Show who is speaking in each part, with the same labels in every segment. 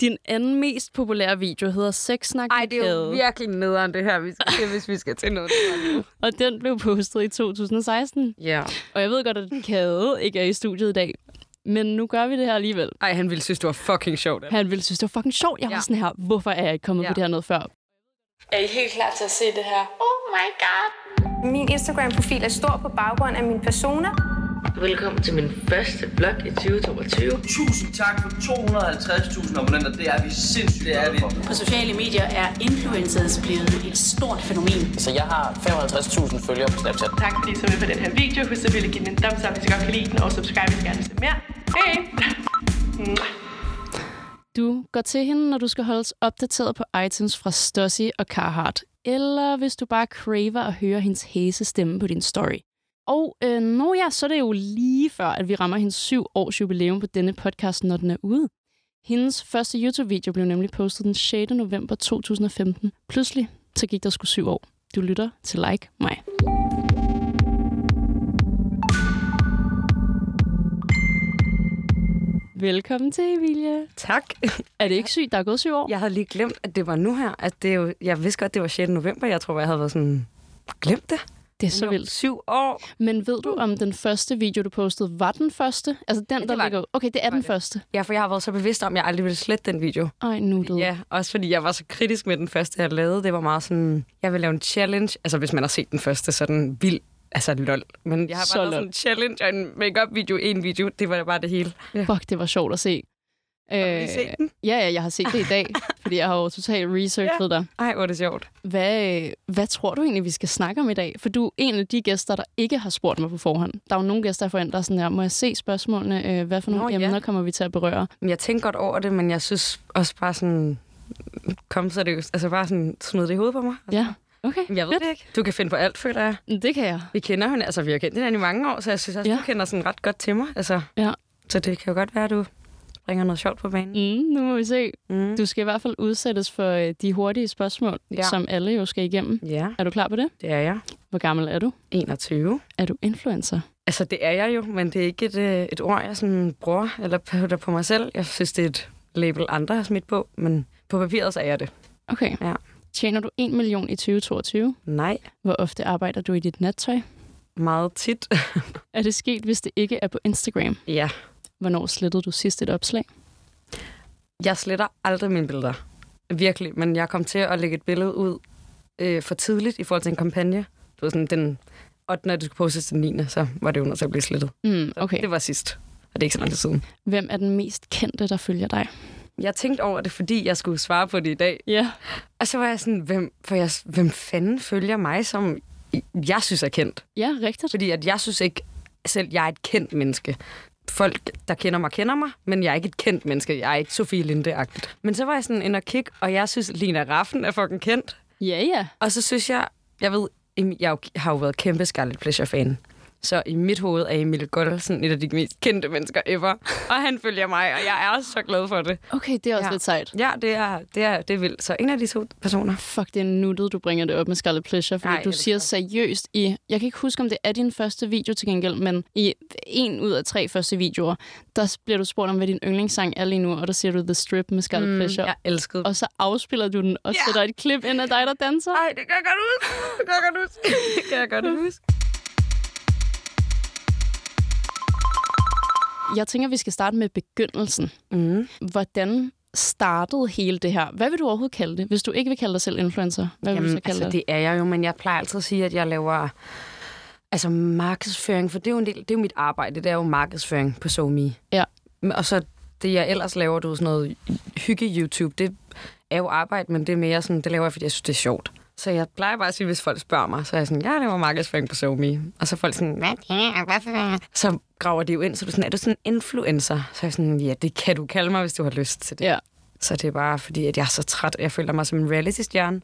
Speaker 1: Din anden mest populære video hedder Sexsnak
Speaker 2: Ej, det er jo
Speaker 1: Kade,
Speaker 2: virkelig nederen det her, vi skal, hvis vi skal til noget.
Speaker 1: og den blev postet i 2016.
Speaker 2: Ja.
Speaker 1: Og jeg ved godt, at Kade ikke er i studiet i dag, men nu gør vi det her alligevel.
Speaker 2: Ej, han ville synes, det var fucking sjovt.
Speaker 1: Han ville synes, det var fucking sjovt. Jeg var
Speaker 2: Ja.
Speaker 1: sådan her, hvorfor er jeg ikke kommet
Speaker 2: Ja.
Speaker 1: på det her noget før?
Speaker 3: Er I helt klar til at se det her?
Speaker 4: Min Instagram-profil er stor på baggrund af min persona.
Speaker 5: Velkommen til min første vlog i 2022.
Speaker 6: Tusind tak for 250.000 abonnenter. Det er vi sindssygt det er vi.
Speaker 7: På sociale medier er influencers blevet et stort fænomen.
Speaker 8: Så jeg har 55.000 følgere på Snapchat.
Speaker 9: Tak fordi I så med på den her video. Husk selvfølgelig at give den en thumbs up, hvis I godt kan lide den, og subscribe, hvis I gerne vil se mere. Hej!
Speaker 1: Du går til hende, når du skal holdes opdateret på items fra Stussy og Carhartt, eller hvis du bare craver at høre hendes hæse stemme på din story. Og øh, nå ja, så er det jo lige før, at vi rammer hendes syv års jubilæum på denne podcast, når den er ude. Hendes første YouTube-video blev nemlig postet den 6. november 2015. Pludselig, så gik der sgu syv år. Du lytter til Like mig. Velkommen til, Emilie.
Speaker 2: Tak.
Speaker 1: Er det ikke sygt, der er gået syv år?
Speaker 2: Jeg havde lige glemt, at det var nu her. At det er jo, jeg vidste godt, det var 6. november. Jeg tror, jeg havde været sådan... Glemt det?
Speaker 1: Det er så vildt.
Speaker 2: Syv år.
Speaker 1: Men ved du, om den første video, du postede, var den første? Altså den, ja, der
Speaker 2: var
Speaker 1: ligger... Okay, det er den
Speaker 2: det.
Speaker 1: første.
Speaker 2: Ja, for jeg har været så bevidst om, at jeg aldrig ville slette den video.
Speaker 1: Ej, nu du.
Speaker 2: Ja, også fordi jeg var så kritisk med den første, jeg lavede. Det var meget sådan, jeg vil lave en challenge. Altså, hvis man har set den første, så er den vild. Altså, lol. Men jeg har bare
Speaker 1: Så
Speaker 2: lavet sådan
Speaker 1: lol.
Speaker 2: en challenge og en make video, en video. Det var bare det hele. Ja.
Speaker 1: Fuck, det var sjovt at se. Øh,
Speaker 2: Har I set den?
Speaker 1: ja, ja, jeg har set det i dag, fordi jeg har jo totalt researchet dig.
Speaker 2: Ej, hvor er det sjovt.
Speaker 1: Hvad, øh, hvad tror du egentlig, vi skal snakke om i dag? For du er en af de gæster, der ikke har spurgt mig på forhånd. Der er jo nogle gæster, jeg forventer sådan her, må jeg se spørgsmålene? Øh, Hvad for nogle
Speaker 2: Nå, ja. Altså.
Speaker 1: emner kommer vi til at berøre?
Speaker 2: Men Jeg tænkte godt over det, men jeg synes også bare sådan... Kom så det Altså bare sådan smid det i hovedet på mig. Altså,
Speaker 1: Ja, okay.
Speaker 2: Jeg ved det ikke. Du kan finde på alt, føler jeg.
Speaker 1: Det kan jeg.
Speaker 2: Vi kender hende. Altså, vi har kendt hinanden i mange år, så jeg synes også,
Speaker 1: Ja.
Speaker 2: ja. du kender sådan ret godt til mig. Altså,
Speaker 1: Ja.
Speaker 2: Så det kan jo godt være, at du bringer noget sjovt på banen.
Speaker 1: Mm, nu må vi se.
Speaker 2: Mm.
Speaker 1: Du skal i hvert fald udsættes for øh, de hurtige spørgsmål, ja.
Speaker 2: Ja.
Speaker 1: som alle jo skal igennem.
Speaker 2: Ja,
Speaker 1: Er du klar på det?
Speaker 2: det er jeg.
Speaker 1: Hvor gammel er du?
Speaker 2: 21.
Speaker 1: Er du influencer?
Speaker 2: Altså, det er jeg jo, men det er ikke et, øh, et ord, jeg sådan bruger eller putter på mig selv. Jeg synes, det er et label, andre har smidt på, men på papiret så er jeg det.
Speaker 1: Okay.
Speaker 2: Ja.
Speaker 1: Tjener du 1 million i 2022?
Speaker 2: Nej,
Speaker 1: Hvor ofte arbejder du i dit nattøj?
Speaker 2: meget tit.
Speaker 1: Er det sket, hvis det ikke er på Instagram?
Speaker 2: ja.
Speaker 1: Hvornår slettede du sidst et opslag?
Speaker 2: Jeg sletter aldrig mine billeder. Virkelig, men jeg kom til at lægge et billede ud øh, for tidligt i forhold til en kampagne. Det var sådan den 8. når det skulle postes den 9. så var det jo nødt til at blive slettet.
Speaker 1: Mm,
Speaker 2: Så
Speaker 1: okay.
Speaker 2: Det var sidst, og det er ikke så lang tid siden.
Speaker 1: Hvem er den mest kendte, der følger dig?
Speaker 2: Jeg tænkte over det, fordi jeg skulle svare på det i dag,
Speaker 1: Ja.
Speaker 2: Og så var jeg sådan, hvem, for jeg, hvem fanden følger mig, som jeg synes er kendt?
Speaker 1: Ja, rigtigt.
Speaker 2: Fordi at jeg synes ikke, selv jeg er et kendt menneske. Folk, der kender mig, kender mig, men jeg er ikke et kendt menneske. Jeg er ikke Sofie linde -agtigt. Men så var jeg sådan ind og kigge, og jeg synes, Lina Raffen er fucking kendt.
Speaker 1: Ja, ja.
Speaker 2: Og så synes jeg, jeg ved, Em- jeg er jo- har jo været kæmpe Scarlet Pleasure-fan. Så i mit hoved er Emil Goldsen et af de mest kendte mennesker ever. Og han følger mig, og jeg er så glad for det.
Speaker 1: Okay, det er også ja.
Speaker 2: Ja.
Speaker 1: lidt sejt.
Speaker 2: Ja, det er, det er, det er vildt. Så en af de to personer.
Speaker 1: Fuck, det er nuttet, du bringer det op med Scarlet Pleasure, fordi
Speaker 2: Nej,
Speaker 1: Nej,
Speaker 2: jeg
Speaker 1: du
Speaker 2: ved
Speaker 1: siger
Speaker 2: det
Speaker 1: seriøst i... Jeg kan ikke huske, om det er din første video til gengæld, men i en ud af tre første videoer, der bliver du spurgt om, hvad din yndlingssang er lige nu, og der siger du The Strip med Scarlet mm, Pleasure.
Speaker 2: Jeg elskede
Speaker 1: og så afspiller du den og yeah. sætter et klip ind af dig, der danser.
Speaker 2: Ej, det kan jeg godt huske. Det kan jeg godt huske. Det kan jeg godt huske.
Speaker 1: Jeg tænker, vi skal starte med begyndelsen.
Speaker 2: Ah. Mm.
Speaker 1: Hvordan startede hele det her? Hvad vil du overhovedet kalde det? Hvis du ikke vil kalde dig selv influencer, hvad vil du så
Speaker 2: Jamen,
Speaker 1: kalde
Speaker 2: altså,
Speaker 1: det?
Speaker 2: det er jeg jo, men jeg plejer altid at sige, at jeg laver altså markedsføring, for det er jo, en del, det er jo mit arbejde, det er jo markedsføring på SoMe.
Speaker 1: Ja.
Speaker 2: Men- Og så det, jeg ellers laver, du ved, sådan noget hygge-YouTube, det er jo arbejde, men det er mere sådan, det laver jeg, fordi jeg synes, det er sjovt. Så jeg plejer bare at sige, hvis folk spørger mig, så er jeg sådan, jeg laver markedsføring på SoMe. Og så er folk sådan, hvad det er, hvorfor? Så graver de jo ind, så er du sådan, er du sådan en influencer? Så er jeg sådan, ja, det kan du kalde mig, hvis du har lyst til det.
Speaker 1: Ja.
Speaker 2: Så det er bare fordi, at jeg er så træt. Jeg føler mig som en reality-stjerne.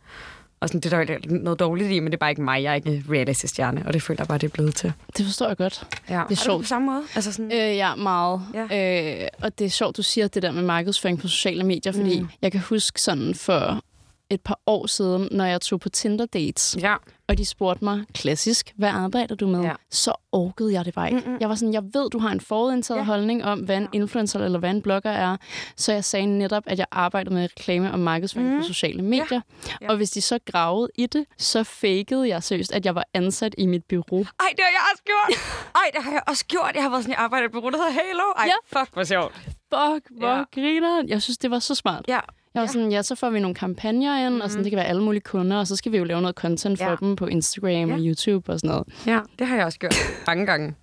Speaker 2: Og sådan, det er der jo noget dårligt i, men det er bare ikke mig. Jeg er ikke reality-stjerne, og det føler jeg bare, det er blevet til.
Speaker 1: Det forstår jeg godt.
Speaker 2: Ja. Det er, sjovt.
Speaker 1: sjovt.
Speaker 2: på samme måde? Altså sådan,
Speaker 1: Øh, ja, meget.
Speaker 2: Ja.
Speaker 1: Øh, og det er sjovt, du siger det der med markedsføring på sociale medier, fordi mm. jeg kan huske sådan for et par år siden, når jeg tog på Tinder-dates,
Speaker 2: Ja.
Speaker 1: og de spurgte mig klassisk, hvad arbejder du med?
Speaker 2: Ja.
Speaker 1: Så orkede jeg det bare ikke. Mm-mm. Jeg var sådan, jeg ved, du har en forudindtaget ja. holdning om, hvad en influencer eller hvad en blogger er. Så jeg sagde netop, at jeg arbejder med reklame og markedsføring mm. på sociale medier. Ja. Ja. Og hvis de så gravede i det, så fakede jeg seriøst, at jeg var ansat i mit bureau.
Speaker 2: Ej, det har jeg også gjort. Ej, det har jeg også gjort. Jeg har været sådan, jeg arbejder på rundt, der hedder Halo. Ej,
Speaker 1: Ja.
Speaker 2: fuck, hvor sjovt.
Speaker 1: Fuck, hvor
Speaker 2: Ja.
Speaker 1: ja. grineren. Jeg synes, det var så smart.
Speaker 2: Ja. Mhm.
Speaker 1: Jeg var sådan, ja, så får vi nogle kampagner ind, mm. og sådan, det kan være alle mulige kunder, og så skal vi jo lave noget content for
Speaker 2: Ja.
Speaker 1: dem på Instagram og YouTube og sådan noget.
Speaker 2: Ja, det har jeg også gjort mange gange.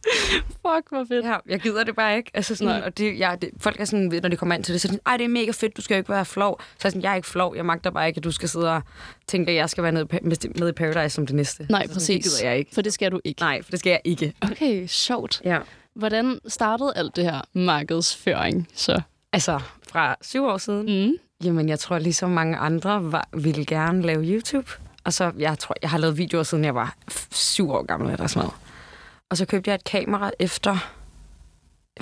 Speaker 1: Fuck, hvor fedt.
Speaker 2: Ja, jeg gider det bare ikke. Altså sådan, og det, jeg, det, folk er sådan, når de kommer ind til det, så er de sådan, ej, det er mega fedt, du skal jo ikke være flov. Så er jeg sådan, jeg er ikke flov, jeg magter bare ikke, at du skal sidde og tænke, at jeg skal være nede, i pa- med i Paradise som det næste.
Speaker 1: Nej,
Speaker 2: altså, Sådan,
Speaker 1: præcis.
Speaker 2: det gider jeg ikke.
Speaker 1: For det skal du ikke.
Speaker 2: Nej, for det skal jeg ikke.
Speaker 1: Okay, sjovt.
Speaker 2: Ja.
Speaker 1: Hvordan startede alt det her markedsføring så?
Speaker 2: Altså, fra syv år siden,
Speaker 1: Mm.
Speaker 2: Jamen, jeg tror ligesom mange andre var, ville gerne lave YouTube. Og så, jeg tror, jeg har lavet videoer, siden jeg var f- syv år gammel eller sådan noget. Og så købte jeg et kamera efter...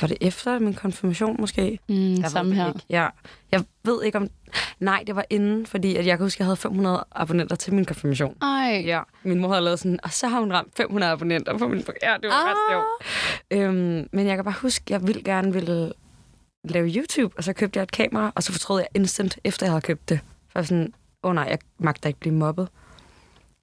Speaker 2: Var det efter min konfirmation, måske?
Speaker 1: Mm,
Speaker 2: Jeg
Speaker 1: samme
Speaker 2: ved det
Speaker 1: her.
Speaker 2: Ikke. Jeg, jeg ved ikke om... Nej, det var inden, fordi at jeg kan huske, jeg havde 500 abonnenter til min konfirmation.
Speaker 1: Ej,
Speaker 2: Ja, min mor havde lavet sådan, og så har hun ramt 500 abonnenter på min... Ja, det var ah. ret sjovt. Øhm, men jeg kan bare huske, jeg ville gerne ville lave YouTube, og så købte jeg et kamera, og så fortrød jeg instant, efter jeg havde købt det. For jeg var sådan, åh oh, nej, jeg magter ikke blive mobbet.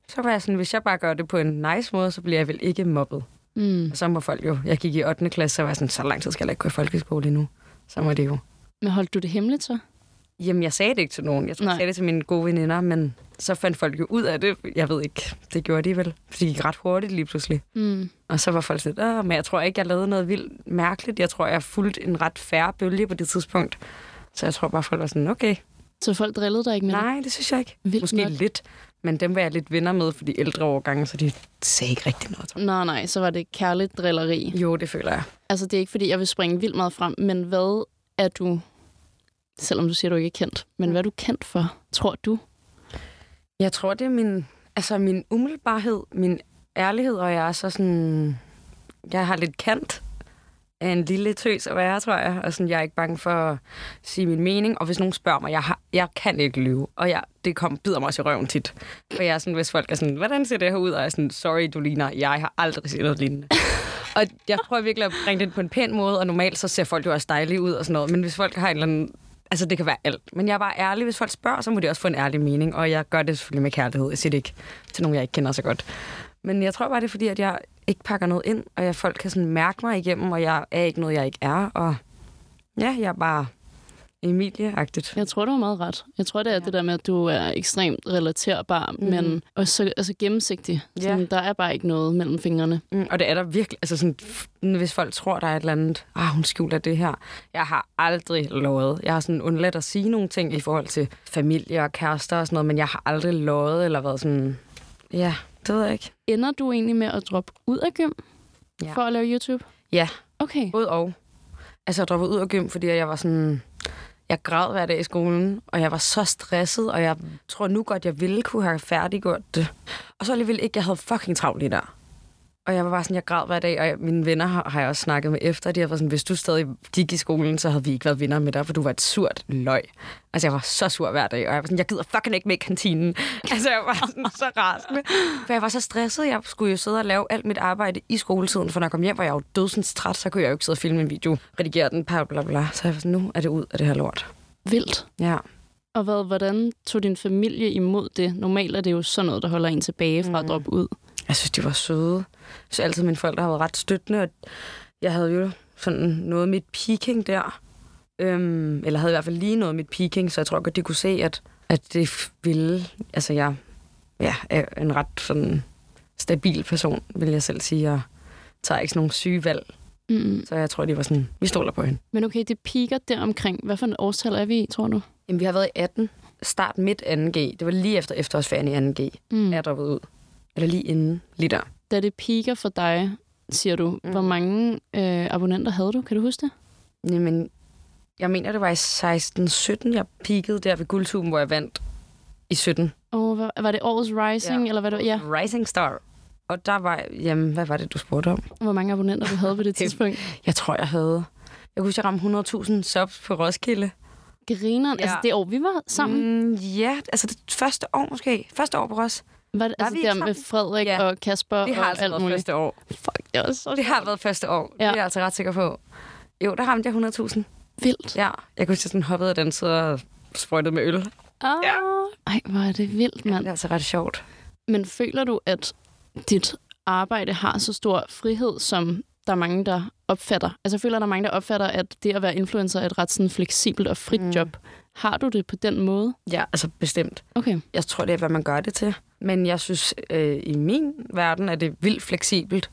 Speaker 2: Så var jeg sådan, hvis jeg bare gør det på en nice måde, så bliver jeg vel ikke mobbet.
Speaker 1: Mm.
Speaker 2: Og så må folk jo, jeg gik i 8. klasse, så var jeg sådan, så lang tid skal jeg da ikke gå i folkeskole endnu. Så må det jo.
Speaker 1: Men holdt du det hemmeligt så?
Speaker 2: Jamen, jeg sagde det ikke til nogen. Jeg tror, jeg
Speaker 1: Nej.
Speaker 2: sagde det til mine gode veninder, men så fandt folk jo ud af det. Jeg ved ikke, det gjorde de vel. For det gik ret hurtigt lige pludselig.
Speaker 1: Mm.
Speaker 2: Og så var folk sådan, Åh, men jeg tror ikke, jeg lavede noget vildt mærkeligt. Jeg tror, jeg fulgte en ret færre bølge på det tidspunkt. Så jeg tror bare, folk var sådan, okay,
Speaker 1: Så folk drillede dig ikke med det?
Speaker 2: nej, det synes jeg ikke.
Speaker 1: Vildt
Speaker 2: Måske
Speaker 1: nok.
Speaker 2: lidt, men dem var jeg lidt venner med for de ældre årgange, så de sagde ikke rigtig noget. Tror jeg.
Speaker 1: Nej, nej, så var det kærligt drilleri.
Speaker 2: Jo, det føler jeg.
Speaker 1: Altså, det er ikke, fordi jeg vil springe vildt meget frem, men hvad er du, selvom du siger, du ikke er kendt, men hvad er du kendt for, tror du?
Speaker 2: Jeg tror, det er min, altså min umiddelbarhed, min ærlighed, og jeg er så sådan... Jeg har lidt kant af en lille tøs at være, tror jeg. Og sådan, jeg er ikke bange for at sige min mening. Og hvis nogen spørger mig, jeg, har, jeg kan ikke lyve. Og jeg, det kom, bider mig også i røven tit. For jeg er sådan, hvis folk er sådan, hvordan ser det her ud? Og jeg er sådan, sorry, du ligner. Jeg har aldrig set noget lignende. og jeg prøver virkelig at bringe det på en pæn måde. Og normalt så ser folk jo også dejlige ud og sådan noget. Men hvis folk har en eller anden Altså, det kan være alt. Men jeg er bare ærlig. Hvis folk spørger, så må de også få en ærlig mening. Og jeg gør det selvfølgelig med kærlighed. Jeg siger det ikke til nogen, jeg ikke kender så godt. Men jeg tror bare, det er fordi, at jeg ikke pakker noget ind, og jeg, folk kan sådan mærke mig igennem, og jeg er ikke noget, jeg ikke er. Og ja, jeg er bare Emilie-agtigt.
Speaker 1: Jeg tror, du har meget ret. Jeg tror, det er ja. det der med, at du er ekstremt relaterbar, mm. men også altså gennemsigtig. Sådan,
Speaker 2: Ja.
Speaker 1: Der er bare ikke noget mellem fingrene.
Speaker 2: Mm, og det er der virkelig, altså sådan, f- hvis folk tror, der er et eller andet, ah, hun skjuler det her. Jeg har aldrig lovet. Jeg har sådan undladt at sige nogle ting i forhold til familie og kærester og sådan noget, men jeg har aldrig lovet eller været sådan, ja, det ved jeg ikke.
Speaker 1: Ender du egentlig med at droppe ud af gym
Speaker 2: Ja.
Speaker 1: ja. for at lave YouTube?
Speaker 2: Ja,
Speaker 1: Okay.
Speaker 2: Både og. Altså, jeg droppede ud af gym, fordi jeg var sådan... Jeg græd hver dag i skolen, og jeg var så stresset, og jeg tror nu godt, jeg ville kunne have færdiggjort det. Og så alligevel ikke, jeg havde fucking travlt lige der. Og jeg var bare sådan, jeg græd hver dag, og jeg, mine venner har, har jeg også snakket med efter, de har været sådan, hvis du stadig gik i skolen, så havde vi ikke været venner med dig, for du var et surt løg. Altså, jeg var så sur hver dag, og jeg var sådan, jeg gider fucking ikke med i kantinen. Altså, jeg var sådan så rasende. For jeg var så stresset, jeg skulle jo sidde og lave alt mit arbejde i skoletiden, for når jeg kom hjem, var jeg jo dødsens træt, så kunne jeg jo ikke sidde og filme en video, redigere den, bla bla bla. Så jeg var sådan, nu er det ud af det her lort.
Speaker 1: Vildt.
Speaker 2: Ja.
Speaker 1: Og hvad, hvordan tog din familie imod det? Normalt er det jo sådan noget, der holder en tilbage fra mm. at droppe ud.
Speaker 2: Jeg synes, de var søde. Jeg synes altid, mine forældre har været ret støttende. Og jeg havde jo sådan noget af mit peaking der. Øhm, eller havde i hvert fald lige noget af mit peaking, så jeg tror godt, de kunne se, at, at det f- ville... Altså, jeg ja, er en ret sådan stabil person, vil jeg selv sige. Jeg tager ikke sådan nogle syge valg.
Speaker 1: Mm.
Speaker 2: Så jeg tror, de var sådan, vi stoler på hende.
Speaker 1: Men okay, det piker deromkring. Hvad for en årstal er vi i, tror du?
Speaker 2: Jamen, vi har været i 18. Start midt 2G. Det var lige efter efterårsferien i 2G. Mm. Jeg er droppet ud. Eller lige inden, lige der.
Speaker 1: Da det piker for dig, siger du, mm. hvor mange øh, abonnenter havde du? Kan du huske det?
Speaker 2: Jamen, jeg mener, det var i 16-17, jeg peakede der ved guldtuben, hvor jeg vandt i 17.
Speaker 1: Og var, var det årets Rising,
Speaker 2: Ja.
Speaker 1: ja. eller hvad det var? Ja.
Speaker 2: Rising Star. Og der var, jamen, hvad var det, du spurgte om?
Speaker 1: Hvor mange abonnenter du havde på det tidspunkt?
Speaker 2: Jeg tror, jeg havde... Jeg kunne huske, jeg ramte 100.000 subs på Roskilde.
Speaker 1: Grineren, ja. altså
Speaker 2: Ja.
Speaker 1: det år, vi var sammen, mm.
Speaker 2: Mm, ja, altså det første år måske. Første år på os.
Speaker 1: var det
Speaker 2: var
Speaker 1: altså
Speaker 2: vi
Speaker 1: der
Speaker 2: ikke
Speaker 1: med Frederik ja.
Speaker 2: Ja.
Speaker 1: og Kasper
Speaker 2: Det har
Speaker 1: og
Speaker 2: altså
Speaker 1: alt
Speaker 2: været
Speaker 1: muligt.
Speaker 2: første år.
Speaker 1: Fuck, det var så
Speaker 2: Det har været første år.
Speaker 1: Ja.
Speaker 2: Ja. Det er jeg altså ret sikker på. Jo, der ramte jeg 100.000.
Speaker 1: vildt.
Speaker 2: Ja, jeg kunne sådan hoppede og dansede og sprøjtede med øl. Det
Speaker 1: Ah. Ja. Ej, hvor er det vildt, mand.
Speaker 2: er altså ret sjovt.
Speaker 1: Men føler du, at dit arbejde har så stor frihed, som der er mange, der opfatter? Altså jeg føler, at der er mange, der opfatter, at det at være influencer er et ret sådan, fleksibelt og frit mm. job. Har du det på den måde?
Speaker 2: Ja, altså bestemt.
Speaker 1: Okay.
Speaker 2: Jeg tror, det er, hvad man gør det til. Men jeg synes, øh, i min verden er det vildt fleksibelt.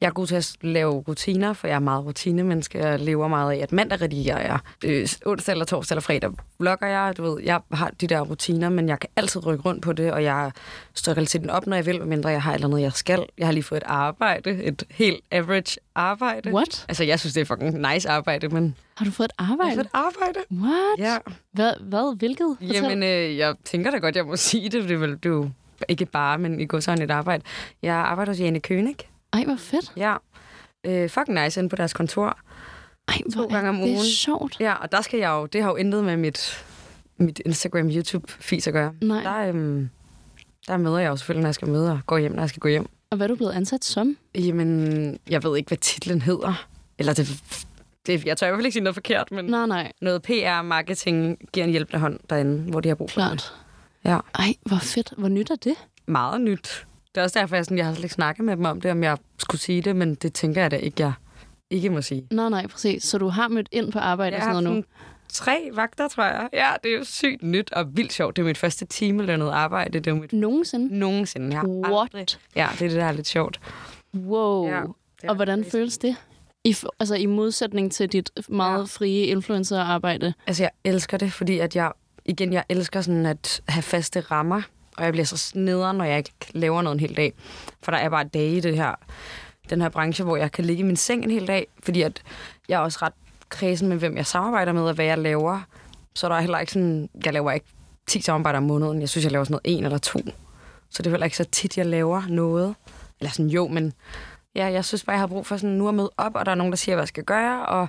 Speaker 2: Jeg er god til at lave rutiner, for jeg er meget rutinemenneske. Jeg lever meget af, at mandag redigerer jeg. Øh, onsdag eller torsdag eller fredag vlogger jeg. Du ved, jeg har de der rutiner, men jeg kan altid rykke rundt på det, og jeg står realiteten op, når jeg vil, medmindre jeg har et eller andet, jeg skal. Jeg har lige fået et arbejde, et helt average arbejde.
Speaker 1: What?
Speaker 2: Altså, jeg synes, det er fucking nice arbejde, men
Speaker 1: Har du fået et
Speaker 2: jeg har
Speaker 1: arbejde?
Speaker 2: fået et arbejde.
Speaker 1: What?
Speaker 2: Ja.
Speaker 1: Hvad? hvad? Hvilket? Fortæl.
Speaker 2: Jamen, øh, jeg tænker da godt, jeg må sige det. Det er, vel, det er jo ikke bare, men i går sådan et arbejde. Jeg arbejder hos Jane König.
Speaker 1: Ej, hvor fedt.
Speaker 2: Ja. Øh, fucking nice inde på deres kontor.
Speaker 1: Ej, hvor
Speaker 2: gange om
Speaker 1: er det
Speaker 2: ugen.
Speaker 1: sjovt.
Speaker 2: Ja, og der skal jeg jo... Det har jo intet med mit, mit Instagram youtube fis at gøre.
Speaker 1: Mm, Nej.
Speaker 2: Der, øhm, der møder jeg jo selvfølgelig, når jeg skal møde, og går hjem, når jeg skal gå hjem.
Speaker 1: Og hvad er du blevet ansat som?
Speaker 2: Jamen, jeg ved ikke, hvad titlen hedder. Eller det... det jeg tør i hvert fald ikke sige noget forkert, men...
Speaker 1: Nej, nej.
Speaker 2: Noget PR-marketing giver en hjælpende hånd derinde, hvor de har brug for det.
Speaker 1: Klart.
Speaker 2: Ja.
Speaker 1: Ej, hvor fedt. Hvor nyt er det?
Speaker 2: meget nyt. Det er også derfor, jeg, sådan, jeg har slet ikke snakket med dem om det, om jeg skulle sige det, men det tænker jeg da ikke, jeg ikke må sige.
Speaker 1: Nej, nej, præcis. Så du har mødt ind på arbejde og
Speaker 2: Jeg
Speaker 1: sådan
Speaker 2: har
Speaker 1: noget nu?
Speaker 2: sådan tre vagter, tror jeg. Ja, det er jo sygt nyt og vildt sjovt. Det er mit første timelønnede arbejde. Det er jo mit
Speaker 1: Nogensinde?
Speaker 2: nogensinde. Jeg har
Speaker 1: What?
Speaker 2: aldrig- Ja, det er det, der er lidt sjovt.
Speaker 1: Wow.
Speaker 2: Ja,
Speaker 1: Ja,
Speaker 2: det er
Speaker 1: og hvordan
Speaker 2: crazy.
Speaker 1: føles det? I, f- altså i modsætning til dit meget ja. frie influencerarbejde.
Speaker 2: Altså, jeg elsker det, fordi at jeg, igen, jeg elsker sådan at have faste rammer, og jeg bliver så sneder, når jeg ikke laver noget en hel dag. For der er bare dage i det her, den her branche, hvor jeg kan ligge i min seng en hel dag, fordi at jeg er også ret kredsen med, hvem jeg samarbejder med, og hvad jeg laver. Så der er heller ikke sådan, jeg laver ikke 10 samarbejder om måneden. Jeg synes, jeg laver sådan noget en eller to. Så det er heller ikke så tit, jeg laver noget. Eller sådan, jo, men ja, jeg synes bare, jeg har brug for sådan nu at møde op, og der er nogen, der siger, hvad jeg skal gøre, og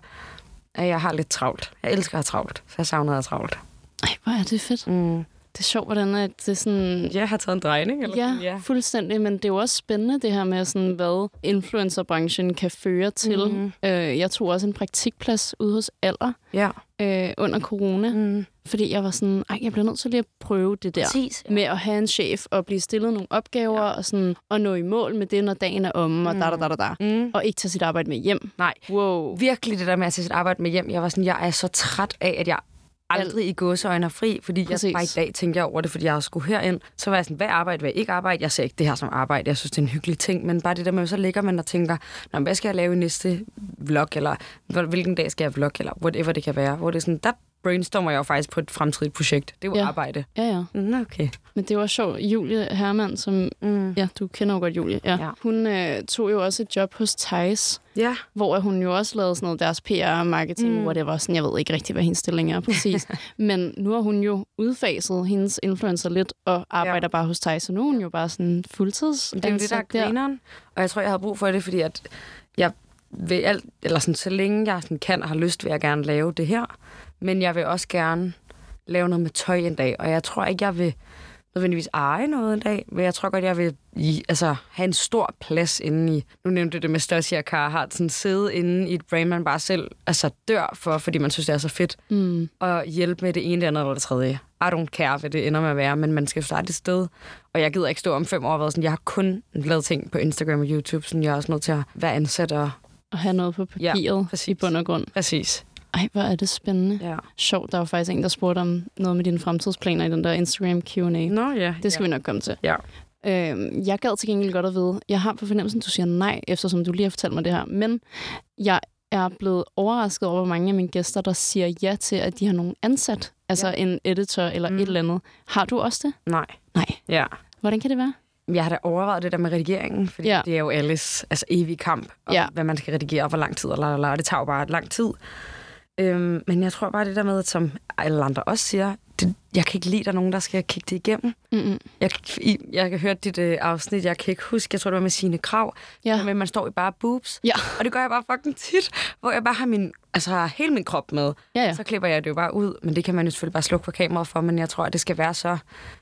Speaker 2: at jeg har lidt travlt. Jeg elsker at have travlt, så jeg savner at have travlt.
Speaker 1: Ej, hvor er det fedt.
Speaker 2: Mm.
Speaker 1: Det er sjovt, hvordan at det er sådan...
Speaker 2: Jeg har taget en drejning, eller?
Speaker 1: Ja,
Speaker 2: sådan,
Speaker 1: ja, fuldstændig. Men det er jo også spændende, det her med, sådan, hvad influencerbranchen kan føre til.
Speaker 2: Mhm.
Speaker 1: Mm-hmm. Øh, jeg tog også en praktikplads ude hos Aller
Speaker 2: Ja.
Speaker 1: øh, under corona,
Speaker 2: Mm.
Speaker 1: fordi jeg var sådan, ej, jeg bliver nødt til lige at prøve det der.
Speaker 2: Præcis,
Speaker 1: Med at have en chef og blive stillet nogle opgaver ja. og sådan, og nå i mål med det, når dagen er omme, og da da da da da.
Speaker 2: Mm.
Speaker 1: Og ikke tage sit arbejde med hjem.
Speaker 2: Nej.
Speaker 1: Wow.
Speaker 2: Virkelig det der med at tage sit arbejde med hjem. Jeg var sådan, jeg er så træt af, at jeg aldrig i gåseøjne er fri, fordi
Speaker 1: Præcis.
Speaker 2: jeg bare i dag tænker jeg over det, fordi jeg skulle herind. Så var jeg sådan, hvad arbejde, hvad ikke arbejde? Jeg ser ikke det her som arbejde, jeg synes, det er en hyggelig ting, men bare det der med, så ligger man og tænker, Nå, men hvad skal jeg lave i næste vlog, eller "Hvor- hvilken dag skal jeg vlogge, eller whatever det kan være. Hvor det er sådan, der brainstormer jeg jo faktisk på et fremtidigt projekt. Det var
Speaker 1: Ja.
Speaker 2: ja. arbejde.
Speaker 1: Ja, ja.
Speaker 2: Mm, okay.
Speaker 1: Men det var sjovt. Julie Hermann, som... Mm. Ja, du kender jo godt Julie. Ja. ja.
Speaker 2: Ja.
Speaker 1: Hun øh, tog jo også et job hos Thijs,
Speaker 2: Ja.
Speaker 1: hvor hun jo også lavede sådan noget deres PR og marketing, mm. whatever. Sådan, jeg ved ikke rigtig, hvad hendes stilling er præcis. Men nu har hun jo udfaset hendes influencer lidt og arbejder ja. bare hos Thijs, så nu er hun jo bare sådan fuldtids.
Speaker 2: Det er jo det, der er grineren. Og jeg tror, jeg havde brug for det, fordi at jeg vil alt, eller sådan, så længe jeg sådan kan og har lyst, vil jeg gerne lave det her. Men jeg vil også gerne lave noget med tøj en dag, og jeg tror ikke, jeg vil nødvendigvis eje noget en dag, men jeg tror godt, jeg vil i, altså, have en stor plads inde i, nu nævnte du det med Stasi og Carhartt, sådan sidde inde i et brand, man bare selv altså, dør for, fordi man synes, det er så fedt, mm. og hjælpe med det ene, det andet eller det tredje. I don't care, hvad det ender med at være, men man skal starte et sted, og jeg gider ikke stå om fem år og være sådan, jeg har kun lavet ting på Instagram og YouTube, sådan jeg er også nødt til at være ansat og...
Speaker 1: Og have noget på
Speaker 2: Ja,
Speaker 1: papiret ja, i
Speaker 2: præcis.
Speaker 1: bund og grund.
Speaker 2: Præcis.
Speaker 1: Ej, hvor er det spændende.
Speaker 2: Ja.
Speaker 1: Sjovt, der var faktisk en, der spurgte om noget med dine fremtidsplaner i den der Instagram Q&A.
Speaker 2: Nå ja.
Speaker 1: Det skal ja. vi nok komme til.
Speaker 2: Ja.
Speaker 1: Øh, jeg gad til gengæld godt at vide, jeg har på fornemmelsen, du siger nej, eftersom du lige har fortalt mig det her, men jeg er blevet overrasket over, hvor mange af mine gæster, der siger ja til, at de har nogen ansat, altså ja. en editor eller mm. et eller andet. Har du også det?
Speaker 2: Nej.
Speaker 1: Nej.
Speaker 2: Ja.
Speaker 1: Hvordan kan det være?
Speaker 2: Jeg har da overvejet det der med redigeringen, fordi
Speaker 1: Ja.
Speaker 2: ja. det er jo alles altså evig kamp, om
Speaker 1: Ja.
Speaker 2: ja. hvad man skal redigere, og hvor lang tid, og la, la, la, og det tager jo bare lang tid. Øhm, men jeg tror bare det der med, at som alle andre også siger, det, jeg kan ikke lide, at der er nogen, der skal kigge det igennem.
Speaker 1: Mm-mm.
Speaker 2: Jeg, kan- i, jeg kan høre dit øh, afsnit, jeg kan ikke huske, jeg tror, det var med sine krav,
Speaker 1: Ja.
Speaker 2: men man står i bare boobs.
Speaker 1: Ja.
Speaker 2: Og det gør jeg bare fucking tit, hvor jeg bare har min, altså har hele min krop med.
Speaker 1: Ja, ja.
Speaker 2: Så klipper jeg det jo bare ud, men det kan man jo selvfølgelig bare slukke for kameraet for, men jeg tror, at det skal være så,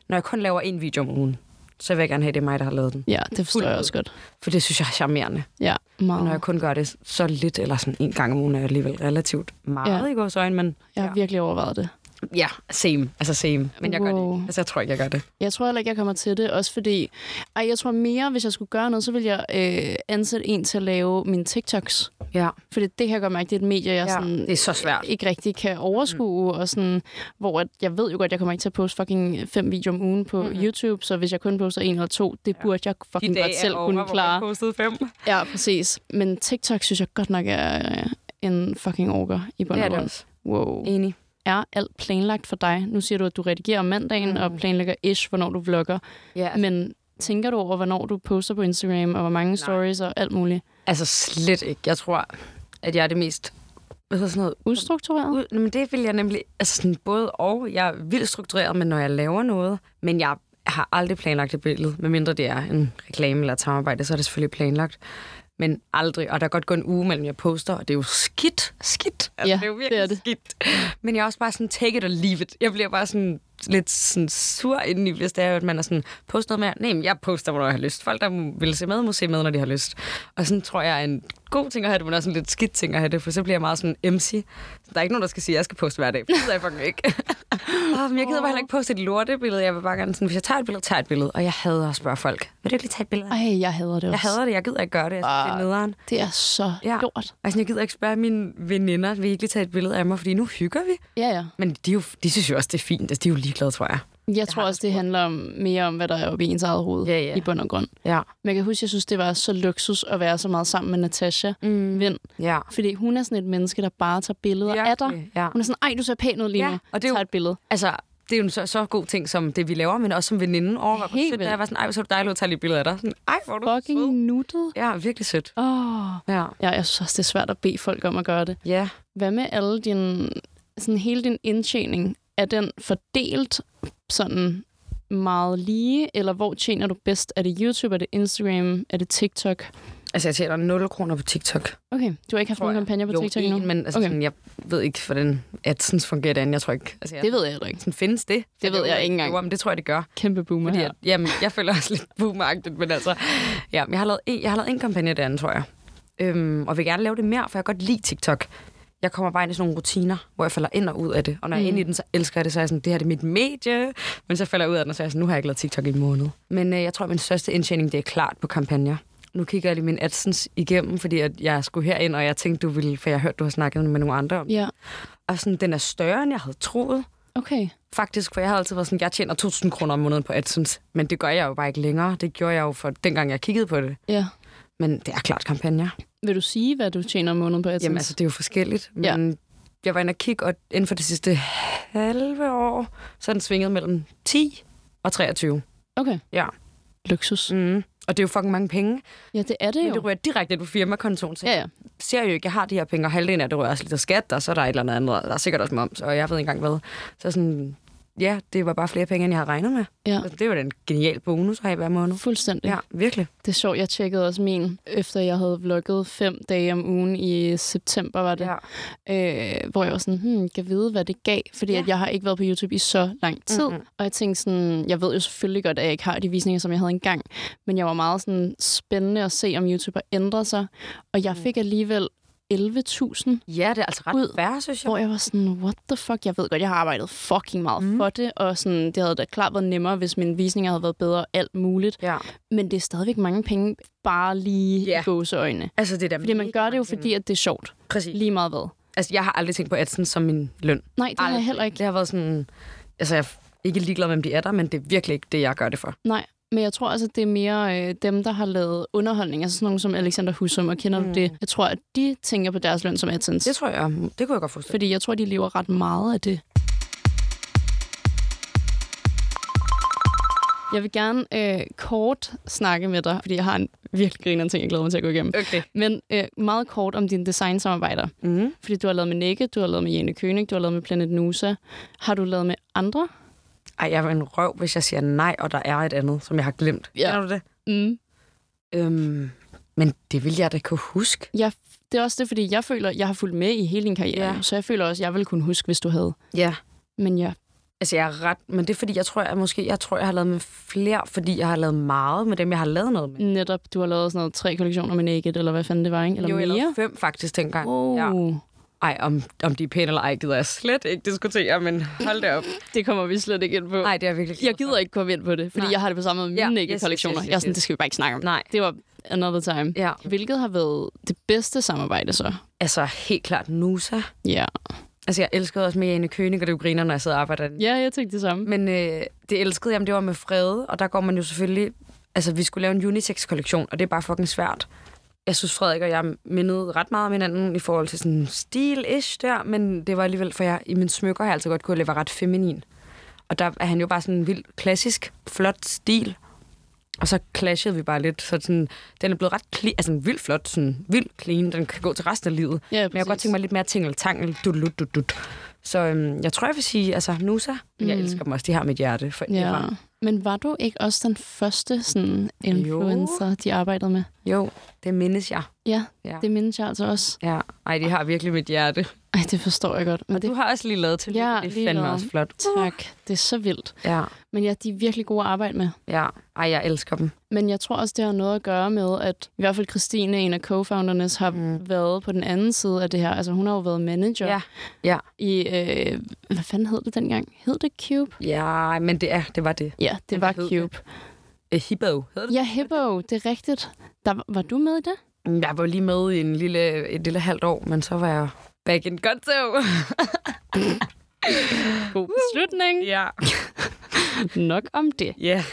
Speaker 2: når jeg kun laver en video om ugen, så vil jeg gerne have, at det er mig, der har lavet den.
Speaker 1: Ja, det forstår
Speaker 2: Fuldt
Speaker 1: jeg
Speaker 2: ud.
Speaker 1: også godt.
Speaker 2: For det synes jeg er charmerende.
Speaker 1: Ja,
Speaker 2: Og
Speaker 1: meget.
Speaker 2: når jeg kun gør det så lidt, eller sådan en gang om ugen, er jeg alligevel relativt meget
Speaker 1: Ja.
Speaker 2: ja. i vores øjne, men
Speaker 1: Jeg har virkelig overvejet det.
Speaker 2: ja, same. Altså same. Men jeg gør det
Speaker 1: Wow.
Speaker 2: ikke. Altså jeg tror ikke, jeg gør det.
Speaker 1: Jeg tror heller ikke, jeg kommer til det, også fordi... Ej, jeg tror mere, hvis jeg skulle gøre noget, så ville jeg øh, ansætte en til at lave mine TikToks.
Speaker 2: Ja.
Speaker 1: Fordi det her godt mærke, det er et medie, jeg
Speaker 2: Ja,
Speaker 1: sådan,
Speaker 2: det er så svært.
Speaker 1: ikke rigtig kan overskue, mm. og sådan, hvor at, jeg ved jo godt, jeg kommer ikke til at poste fucking fem videoer om ugen på mm-hmm. YouTube, så hvis jeg kun poster en eller to, det ja. burde jeg fucking godt selv kunne klare.
Speaker 2: postet fem.
Speaker 1: Ja, præcis. Men TikTok synes jeg godt nok er øh, en fucking orker i bund
Speaker 2: Det er
Speaker 1: og
Speaker 2: det
Speaker 1: grund.
Speaker 2: også.
Speaker 1: Wow.
Speaker 2: Enig.
Speaker 1: Er alt planlagt for dig? Nu siger du, at du redigerer om mandagen mm. og planlægger ish, hvornår du vlogger.
Speaker 2: Ja, altså, men,
Speaker 1: Men tænker du over, hvornår du poster på Instagram, og hvor mange Nej. stories og alt muligt?
Speaker 2: altså slet ikke. Jeg tror, at jeg er det mest... Hvad hedder sådan noget?
Speaker 1: Ustruktureret?
Speaker 2: Ud, men det vil jeg nemlig... Altså sådan både og. Jeg er vildt struktureret, men når jeg laver noget... Men jeg har aldrig planlagt et billede, medmindre det er en reklame eller et samarbejde, så er det selvfølgelig planlagt. Men aldrig. Og der er godt gå en uge mellem, jeg poster, og det er jo skidt. Skidt. Altså,
Speaker 1: Ja,
Speaker 2: det er jo
Speaker 1: det
Speaker 2: virkelig
Speaker 1: er det.
Speaker 2: skidt. Men jeg er også bare sådan, take it or leave it. Jeg bliver bare sådan lidt sådan sur indeni, hvis det er, at man er sådan, post noget mere. Nej, men jeg poster, hvornår jeg har lyst. Folk, der vil se med, må se med, når de har lyst. Og sådan tror jeg er en god ting at have det, men også en lidt skidt ting at have det, for så bliver jeg meget sådan MC. Så der er ikke nogen, der skal sige, at jeg skal poste hver dag. for Det ved jeg fucking ikke. oh, men jeg gider bare heller ikke poste et lortebillede. Jeg vil bare gerne sådan, hvis jeg tager et billede, tager jeg et billede. Og jeg hader at spørge folk, vil du ikke lige tage et billede?
Speaker 1: Ej, jeg hader det
Speaker 2: Jeg
Speaker 1: også.
Speaker 2: hader det, jeg gider ikke gøre det. Jeg synes, det er nederen.
Speaker 1: Det er så
Speaker 2: Ja.
Speaker 1: ja. lort.
Speaker 2: Altså, jeg gider ikke spørge mine veninder, vil I ikke lige tage et billede af mig, fordi nu hygger vi.
Speaker 1: Ja, ja.
Speaker 2: Men de, er jo, de synes jo også, det er fint. Altså, de er jo ligeglade, tror jeg.
Speaker 1: Jeg, jeg tror også, det handler om, mere om, hvad der er oppe i ens eget hoved
Speaker 2: Ja, ja.
Speaker 1: i bund og grund.
Speaker 2: Ja.
Speaker 1: Men jeg kan huske, jeg synes, det var så luksus at være så meget sammen med Natasha mm. Vind.
Speaker 2: Ja.
Speaker 1: Fordi hun er sådan et menneske, der bare tager billeder af dig.
Speaker 2: Virkelig, ja.
Speaker 1: Hun er sådan, ej, du ser pæn ud lige
Speaker 2: Ja,
Speaker 1: nu.
Speaker 2: og det er jo-
Speaker 1: Tag et billede.
Speaker 2: Altså, det er jo en så, så god ting, som det vi laver, men også som veninde. Åh, hvor
Speaker 1: Helt
Speaker 2: sødt, da
Speaker 1: vildt.
Speaker 2: jeg var sådan, ej, hvor så er du dejlig ud, tager lige et billede af dig. Sådan, ej, hvor er du sød.
Speaker 1: Fucking nuttet.
Speaker 2: Ja, virkelig sødt.
Speaker 1: Åh.
Speaker 2: Ja.
Speaker 1: Ja, jeg synes også, det er svært at bede folk om at gøre det.
Speaker 2: Ja.
Speaker 1: Hvad med alle din, sådan hele din indtjening? Er den fordelt sådan meget lige, eller hvor tjener du bedst? Er det YouTube, er det Instagram, er det TikTok?
Speaker 2: Altså, jeg tjener 0 kroner på TikTok.
Speaker 1: Okay, du har ikke haft nogen kampagne på
Speaker 2: jo,
Speaker 1: TikTok
Speaker 2: en,
Speaker 1: endnu?
Speaker 2: men altså,
Speaker 1: Okay.
Speaker 2: okay. sådan, jeg ved ikke, hvordan AdSense fungerer derinde. Jeg tror ikke, altså, jeg,
Speaker 1: Det ved jeg heller ikke.
Speaker 2: sådan, findes det?
Speaker 1: Det ved jeg ikke engang.
Speaker 2: Jo, men det tror jeg, det gør.
Speaker 1: Kæmpe boomer
Speaker 2: Fordi
Speaker 1: her.
Speaker 2: at, jamen, jeg føler også lidt boomagtigt, men altså... Ja, men jeg har lavet en, jeg har lavet en kampagne derinde, tror jeg. Øhm, og vil gerne lave det mere, for jeg kan godt lide TikTok. Jeg kommer bare ind i sådan nogle rutiner, hvor jeg falder ind og ud af det. Og når jeg er inde i den, så elsker jeg det, så er jeg sådan, det her det er mit medie. Men så falder jeg ud af den, og så er jeg sådan, nu har jeg ikke lavet TikTok i en måned. Men øh, jeg tror, at min største indtjening, det er klart på kampagner. Nu kigger jeg lige min AdSense igennem, fordi at jeg skulle herind, og jeg tænkte, du ville, for jeg har hørt, du har snakket med nogle andre om. det.
Speaker 1: Ja,
Speaker 2: Og sådan, den er større, end jeg havde troet
Speaker 1: okay.
Speaker 2: faktisk, for jeg har altid været sådan, jeg tjener 2.000 kroner om måneden på AdSense, men det gør jeg jo bare ikke længere. Det gjorde jeg jo for dengang, jeg kiggede på det.
Speaker 1: Ja.
Speaker 2: Men det er klart kampagner.
Speaker 1: Vil du sige, hvad du tjener om måneden på AdSense?
Speaker 2: Jamen altså, det er jo forskelligt, men ja. jeg var inde og kigge, og inden for det sidste halve år, så er den svinget mellem 10 og 23.
Speaker 1: Okay.
Speaker 2: Ja.
Speaker 1: Luksus.
Speaker 2: Mm. Og det er jo fucking mange penge.
Speaker 1: Ja, det er det
Speaker 2: Men
Speaker 1: jo.
Speaker 2: det rører direkte på firmakontoen, så
Speaker 1: Ja, ja.
Speaker 2: ser jeg jo ikke, jeg har de her penge, og halvdelen af det rører også lidt af skat, og så er der et eller andet andet, og der er sikkert også moms, og jeg ved ikke engang hvad. Så sådan, ja, det var bare flere penge, end jeg havde regnet med.
Speaker 1: Ja.
Speaker 2: Altså, det var en genial bonus at have hver måned.
Speaker 1: Fuldstændig.
Speaker 2: Altså, Ja, virkelig.
Speaker 1: Det er sjovt, jeg tjekkede også min, efter jeg havde vlogget fem dage om ugen i september, var det.
Speaker 2: Ja.
Speaker 1: Øh, hvor jeg var sådan, hmm, kan vide, hvad det gav, fordi ja. at jeg har ikke været på YouTube i så
Speaker 2: Mm,
Speaker 1: lang tid. Mm-hmm. Og jeg tænkte sådan, jeg ved jo selvfølgelig godt, at jeg ikke har de visninger, som jeg havde engang, men jeg var meget sådan spændende at se, om YouTube har ændret sig. Og jeg fik alligevel 11.000
Speaker 2: Mm. ja, det er altså ret
Speaker 1: Ud.
Speaker 2: værre, synes jeg.
Speaker 1: hvor jeg var sådan, what the fuck? Jeg ved godt, jeg har arbejdet fucking meget mm. for det, og sådan, det havde da klart været nemmere, hvis mine visninger havde været bedre, alt muligt.
Speaker 2: Ja.
Speaker 1: Men det er stadigvæk mange penge, bare lige
Speaker 2: Ja.
Speaker 1: yeah. i gåseøjne.
Speaker 2: Altså, det er da
Speaker 1: Fordi man
Speaker 2: mega
Speaker 1: gør det jo,
Speaker 2: mange penge.
Speaker 1: fordi at det er sjovt.
Speaker 2: Præcis.
Speaker 1: Lige meget hvad.
Speaker 2: Altså, jeg har aldrig tænkt på AdSense som min løn.
Speaker 1: Nej, det har jeg heller ikke.
Speaker 2: Det har været sådan... Altså, jeg er ikke ligeglad med, hvem de er der, men det er virkelig ikke det, jeg gør det for.
Speaker 1: Nej, men jeg tror også, at det er mere øh, dem, der har lavet underholdning. Altså sådan nogen som Alexander Husum, og kender mm. du det? Jeg tror, at de tænker på deres løn som AdSense.
Speaker 2: Det tror jeg, det kunne jeg godt forstå.
Speaker 1: Fordi jeg tror, de lever ret meget af det. Jeg vil gerne øh, kort snakke med dig, fordi jeg har en virkelig grinerende ting, jeg glæder mig til at gå igennem.
Speaker 2: Okay.
Speaker 1: Men øh, meget kort om dine designsamarbejder.
Speaker 2: Mm.
Speaker 1: Fordi du har lavet med Nikke, du har lavet med Jane König, du har lavet med Planet Nusa. Har du lavet med andre?
Speaker 2: Ej, jeg er en røv, hvis jeg siger nej, og der er et andet, som jeg har glemt.
Speaker 1: Ja.
Speaker 2: Kender du det?
Speaker 1: Mm.
Speaker 2: Øhm, men det vil jeg da kunne huske.
Speaker 1: Jeg, det er også det, fordi jeg føler, jeg har fulgt med i hele din karriere.
Speaker 2: Ja.
Speaker 1: Ja. Så jeg føler også, jeg ville kunne huske, hvis du havde.
Speaker 2: Ja.
Speaker 1: Men ja,
Speaker 2: Altså, jeg er ret... Men det er, fordi jeg tror, jeg måske... Jeg tror, jeg har lavet med flere, fordi jeg har lavet meget med dem, jeg har lavet noget med.
Speaker 1: netop, du har lavet sådan noget tre kollektioner med Naked, eller hvad fanden det var, ikke? Eller
Speaker 2: jo, jeg lavede
Speaker 1: mere?
Speaker 2: fem faktisk dengang.
Speaker 1: Oh,
Speaker 2: Ja.
Speaker 1: ja.
Speaker 2: Ej, om, om de er pæne eller ej, gider jeg slet ikke diskutere, men hold da op.
Speaker 1: Det kommer vi slet ikke ind på.
Speaker 2: Nej, det er jeg virkelig glad
Speaker 1: Jeg gider ikke komme ind på det, fordi
Speaker 2: Nej.
Speaker 1: Nej. jeg har det på samme måde med
Speaker 2: Ja,
Speaker 1: mine
Speaker 2: yes, yes,
Speaker 1: yes, kollektioner.
Speaker 2: yes,
Speaker 1: Yes, yes, yes. Jeg er sådan,
Speaker 2: yes.
Speaker 1: det skal vi bare ikke snakke om.
Speaker 2: Nej.
Speaker 1: Det var another time.
Speaker 2: Ja.
Speaker 1: Hvilket har været det bedste samarbejde så?
Speaker 2: for. Altså, helt klart Nusa.
Speaker 1: Ja,
Speaker 2: Altså, jeg elskede også med Jane Kønig, og det er jo griner, når jeg sidder og arbejder.
Speaker 1: ja jeg tænkte det samme.
Speaker 2: Men øh, det elskede jeg, men det var med Frede, og der går man jo selvfølgelig... Altså, vi skulle lave en unisex-kollektion, og det er bare fucking svært. Jeg synes, Frederik og jeg mindede ret meget om hinanden i forhold til sådan stil-ish der, men det var alligevel, for jeg i mine smykker har jeg altid godt kunne leve ret feminin. Og der er han jo bare sådan en vild klassisk, flot stil. Og så clashede vi bare lidt, så sådan, den er blevet ret clean, altså en vild flot, sådan vild clean, den kan gå til resten af livet.
Speaker 1: Ja,
Speaker 2: Men jeg kunne godt tænke mig lidt mere tingeltangel. Dut, dut, dut. Så øhm, jeg tror, jeg vil sige, altså Nusa, mm. jeg elsker dem også. De har mit hjerte for
Speaker 1: Ja.
Speaker 2: ja.
Speaker 1: Men var du ikke også den første sådan, influencer, jo. de arbejdede med?
Speaker 2: Jo, det mindes jeg.
Speaker 1: Ja,
Speaker 2: Ja.
Speaker 1: ja, det mindes jeg altså også.
Speaker 2: Ja. Ej, de har virkelig mit hjerte.
Speaker 1: Ej, det forstår jeg godt. Men
Speaker 2: Du
Speaker 1: det,
Speaker 2: har også lige lavet til
Speaker 1: Ja,
Speaker 2: det er
Speaker 1: lige
Speaker 2: fandme
Speaker 1: lavet.
Speaker 2: også flot.
Speaker 1: tak, det er så vildt.
Speaker 2: Ja,
Speaker 1: Men ja, de er virkelig gode at arbejde med.
Speaker 2: ja. Ej, jeg elsker dem.
Speaker 1: Men jeg tror også, det har noget at gøre med, at i hvert fald Christine, en af co-foundernes, har mm. været på den anden side af det her. Altså, hun har jo været manager
Speaker 2: Ja. Ja.
Speaker 1: i, øh, hvad fanden hed det dengang? Hed det Cube?
Speaker 2: Ja, men det er, det var det.
Speaker 1: Ja, det var
Speaker 2: hed det?
Speaker 1: Cube.
Speaker 2: Eh, Hippo hedder det?
Speaker 1: Ja, Hippo, det er rigtigt. Der, var- var du med i det?
Speaker 2: Ja. Mm, Jeg var jo lige med i en lille, et lille halvt år, men så var jeg back in godt
Speaker 1: God beslutning.
Speaker 2: Ja.
Speaker 1: Nok om det.
Speaker 2: Ja.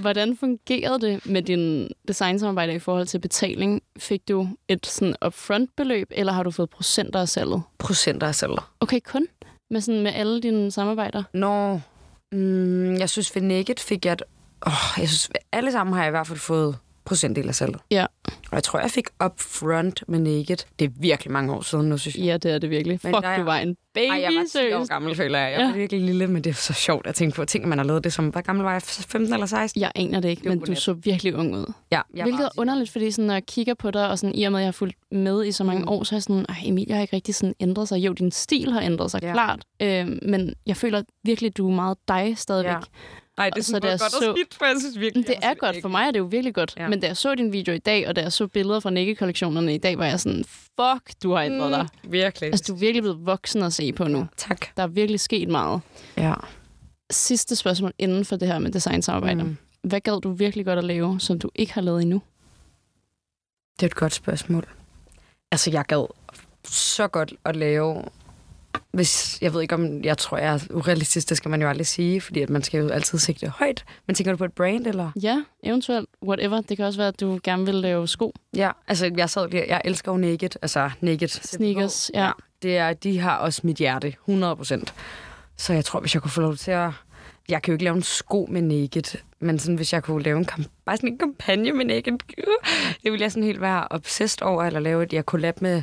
Speaker 1: Hvordan fungerede det med din designsamarbejde i forhold til betaling? Fik du et sådan upfront-beløb, eller har du fået procenter af salget?
Speaker 2: Procenter af celler.
Speaker 1: Okay, kun med, sådan, med alle dine samarbejder?
Speaker 2: Nå, mm, jeg synes ved Naked fik jeg et... Åh, jeg synes, alle sammen har jeg i hvert fald fået procentdel af salget.
Speaker 1: Ja.
Speaker 2: Og jeg tror, jeg fik upfront med Naked. Det er virkelig mange år siden nu, synes jeg.
Speaker 1: Ja, det er det virkelig.
Speaker 2: Men
Speaker 1: Fuck,
Speaker 2: der er-
Speaker 1: du var en baby,
Speaker 2: Ej, jeg var 10 år
Speaker 1: seriøst.
Speaker 2: gammel, føler jeg. Jeg var
Speaker 1: Ja.
Speaker 2: virkelig lille, men det er så sjovt at tænke på. Tænk, man har lavet det som... Hvor gammel var jeg? 15 eller 16?
Speaker 1: Jeg aner det ikke,
Speaker 2: Det er
Speaker 1: men
Speaker 2: jo
Speaker 1: du
Speaker 2: net.
Speaker 1: så virkelig ung ud.
Speaker 2: Ja,
Speaker 1: Jeg
Speaker 2: jeg
Speaker 1: Hvilket
Speaker 2: var
Speaker 1: er underligt, fordi sådan, når jeg kigger på dig, og sådan, i og med, at jeg har fulgt med i så mange
Speaker 2: Mm.
Speaker 1: år, så er jeg sådan, Ej, Emilie har ikke rigtig sådan ændret sig. Jo, din stil har ændret sig,
Speaker 2: Ja.
Speaker 1: ja. klart. Øh, men jeg føler virkelig, at du er meget dig stadigvæk.
Speaker 2: Ja.
Speaker 1: Ja.
Speaker 2: Nej, det er
Speaker 1: så
Speaker 2: sådan
Speaker 1: da
Speaker 2: både
Speaker 1: jeg
Speaker 2: godt så...
Speaker 1: så-
Speaker 2: og skidt, for jeg synes virkelig...
Speaker 1: Det
Speaker 2: jeg
Speaker 1: er
Speaker 2: synes
Speaker 1: godt.
Speaker 2: ikke-
Speaker 1: For mig er det jo virkelig godt.
Speaker 2: Ja.
Speaker 1: Ja. Men da jeg så din video i dag, og da jeg så billeder fra Nikke-kollektionerne i dag, var jeg sådan, fuck, du har ændret dig.
Speaker 2: Mm, virkelig.
Speaker 1: Altså, du er virkelig blevet voksen at se på nu.
Speaker 2: Tak.
Speaker 1: Der er virkelig sket meget.
Speaker 2: Ja.
Speaker 1: Sidste spørgsmål inden for det her med designsamarbejder.
Speaker 2: Mm.
Speaker 1: Mm. Hvad gad du virkelig godt at lave, som du ikke har lavet endnu?
Speaker 2: Det er et godt spørgsmål. Altså, jeg gad så godt at lave... Hvis, jeg ved ikke om, jeg tror, jeg er urealistisk, det skal man jo aldrig sige, fordi at man skal jo altid sigte højt. Men tænker du på et brand, eller?
Speaker 1: Ja, eventuelt. Whatever. Det kan også være, at du gerne vil lave sko.
Speaker 2: Ja, altså jeg sad lige, jeg elsker jo Naked, altså Naked.
Speaker 1: Sneakers, ja.
Speaker 2: Det er, de har også mit hjerte, 100 procent. Så jeg tror, hvis jeg kunne få lov til at... Jeg kan jo ikke lave en sko med Naked, men sådan, hvis jeg kunne lave en kamp- bare sådan en kampagne med Naked, det ville jeg sådan helt være obsessed over, eller lave et, jeg collab med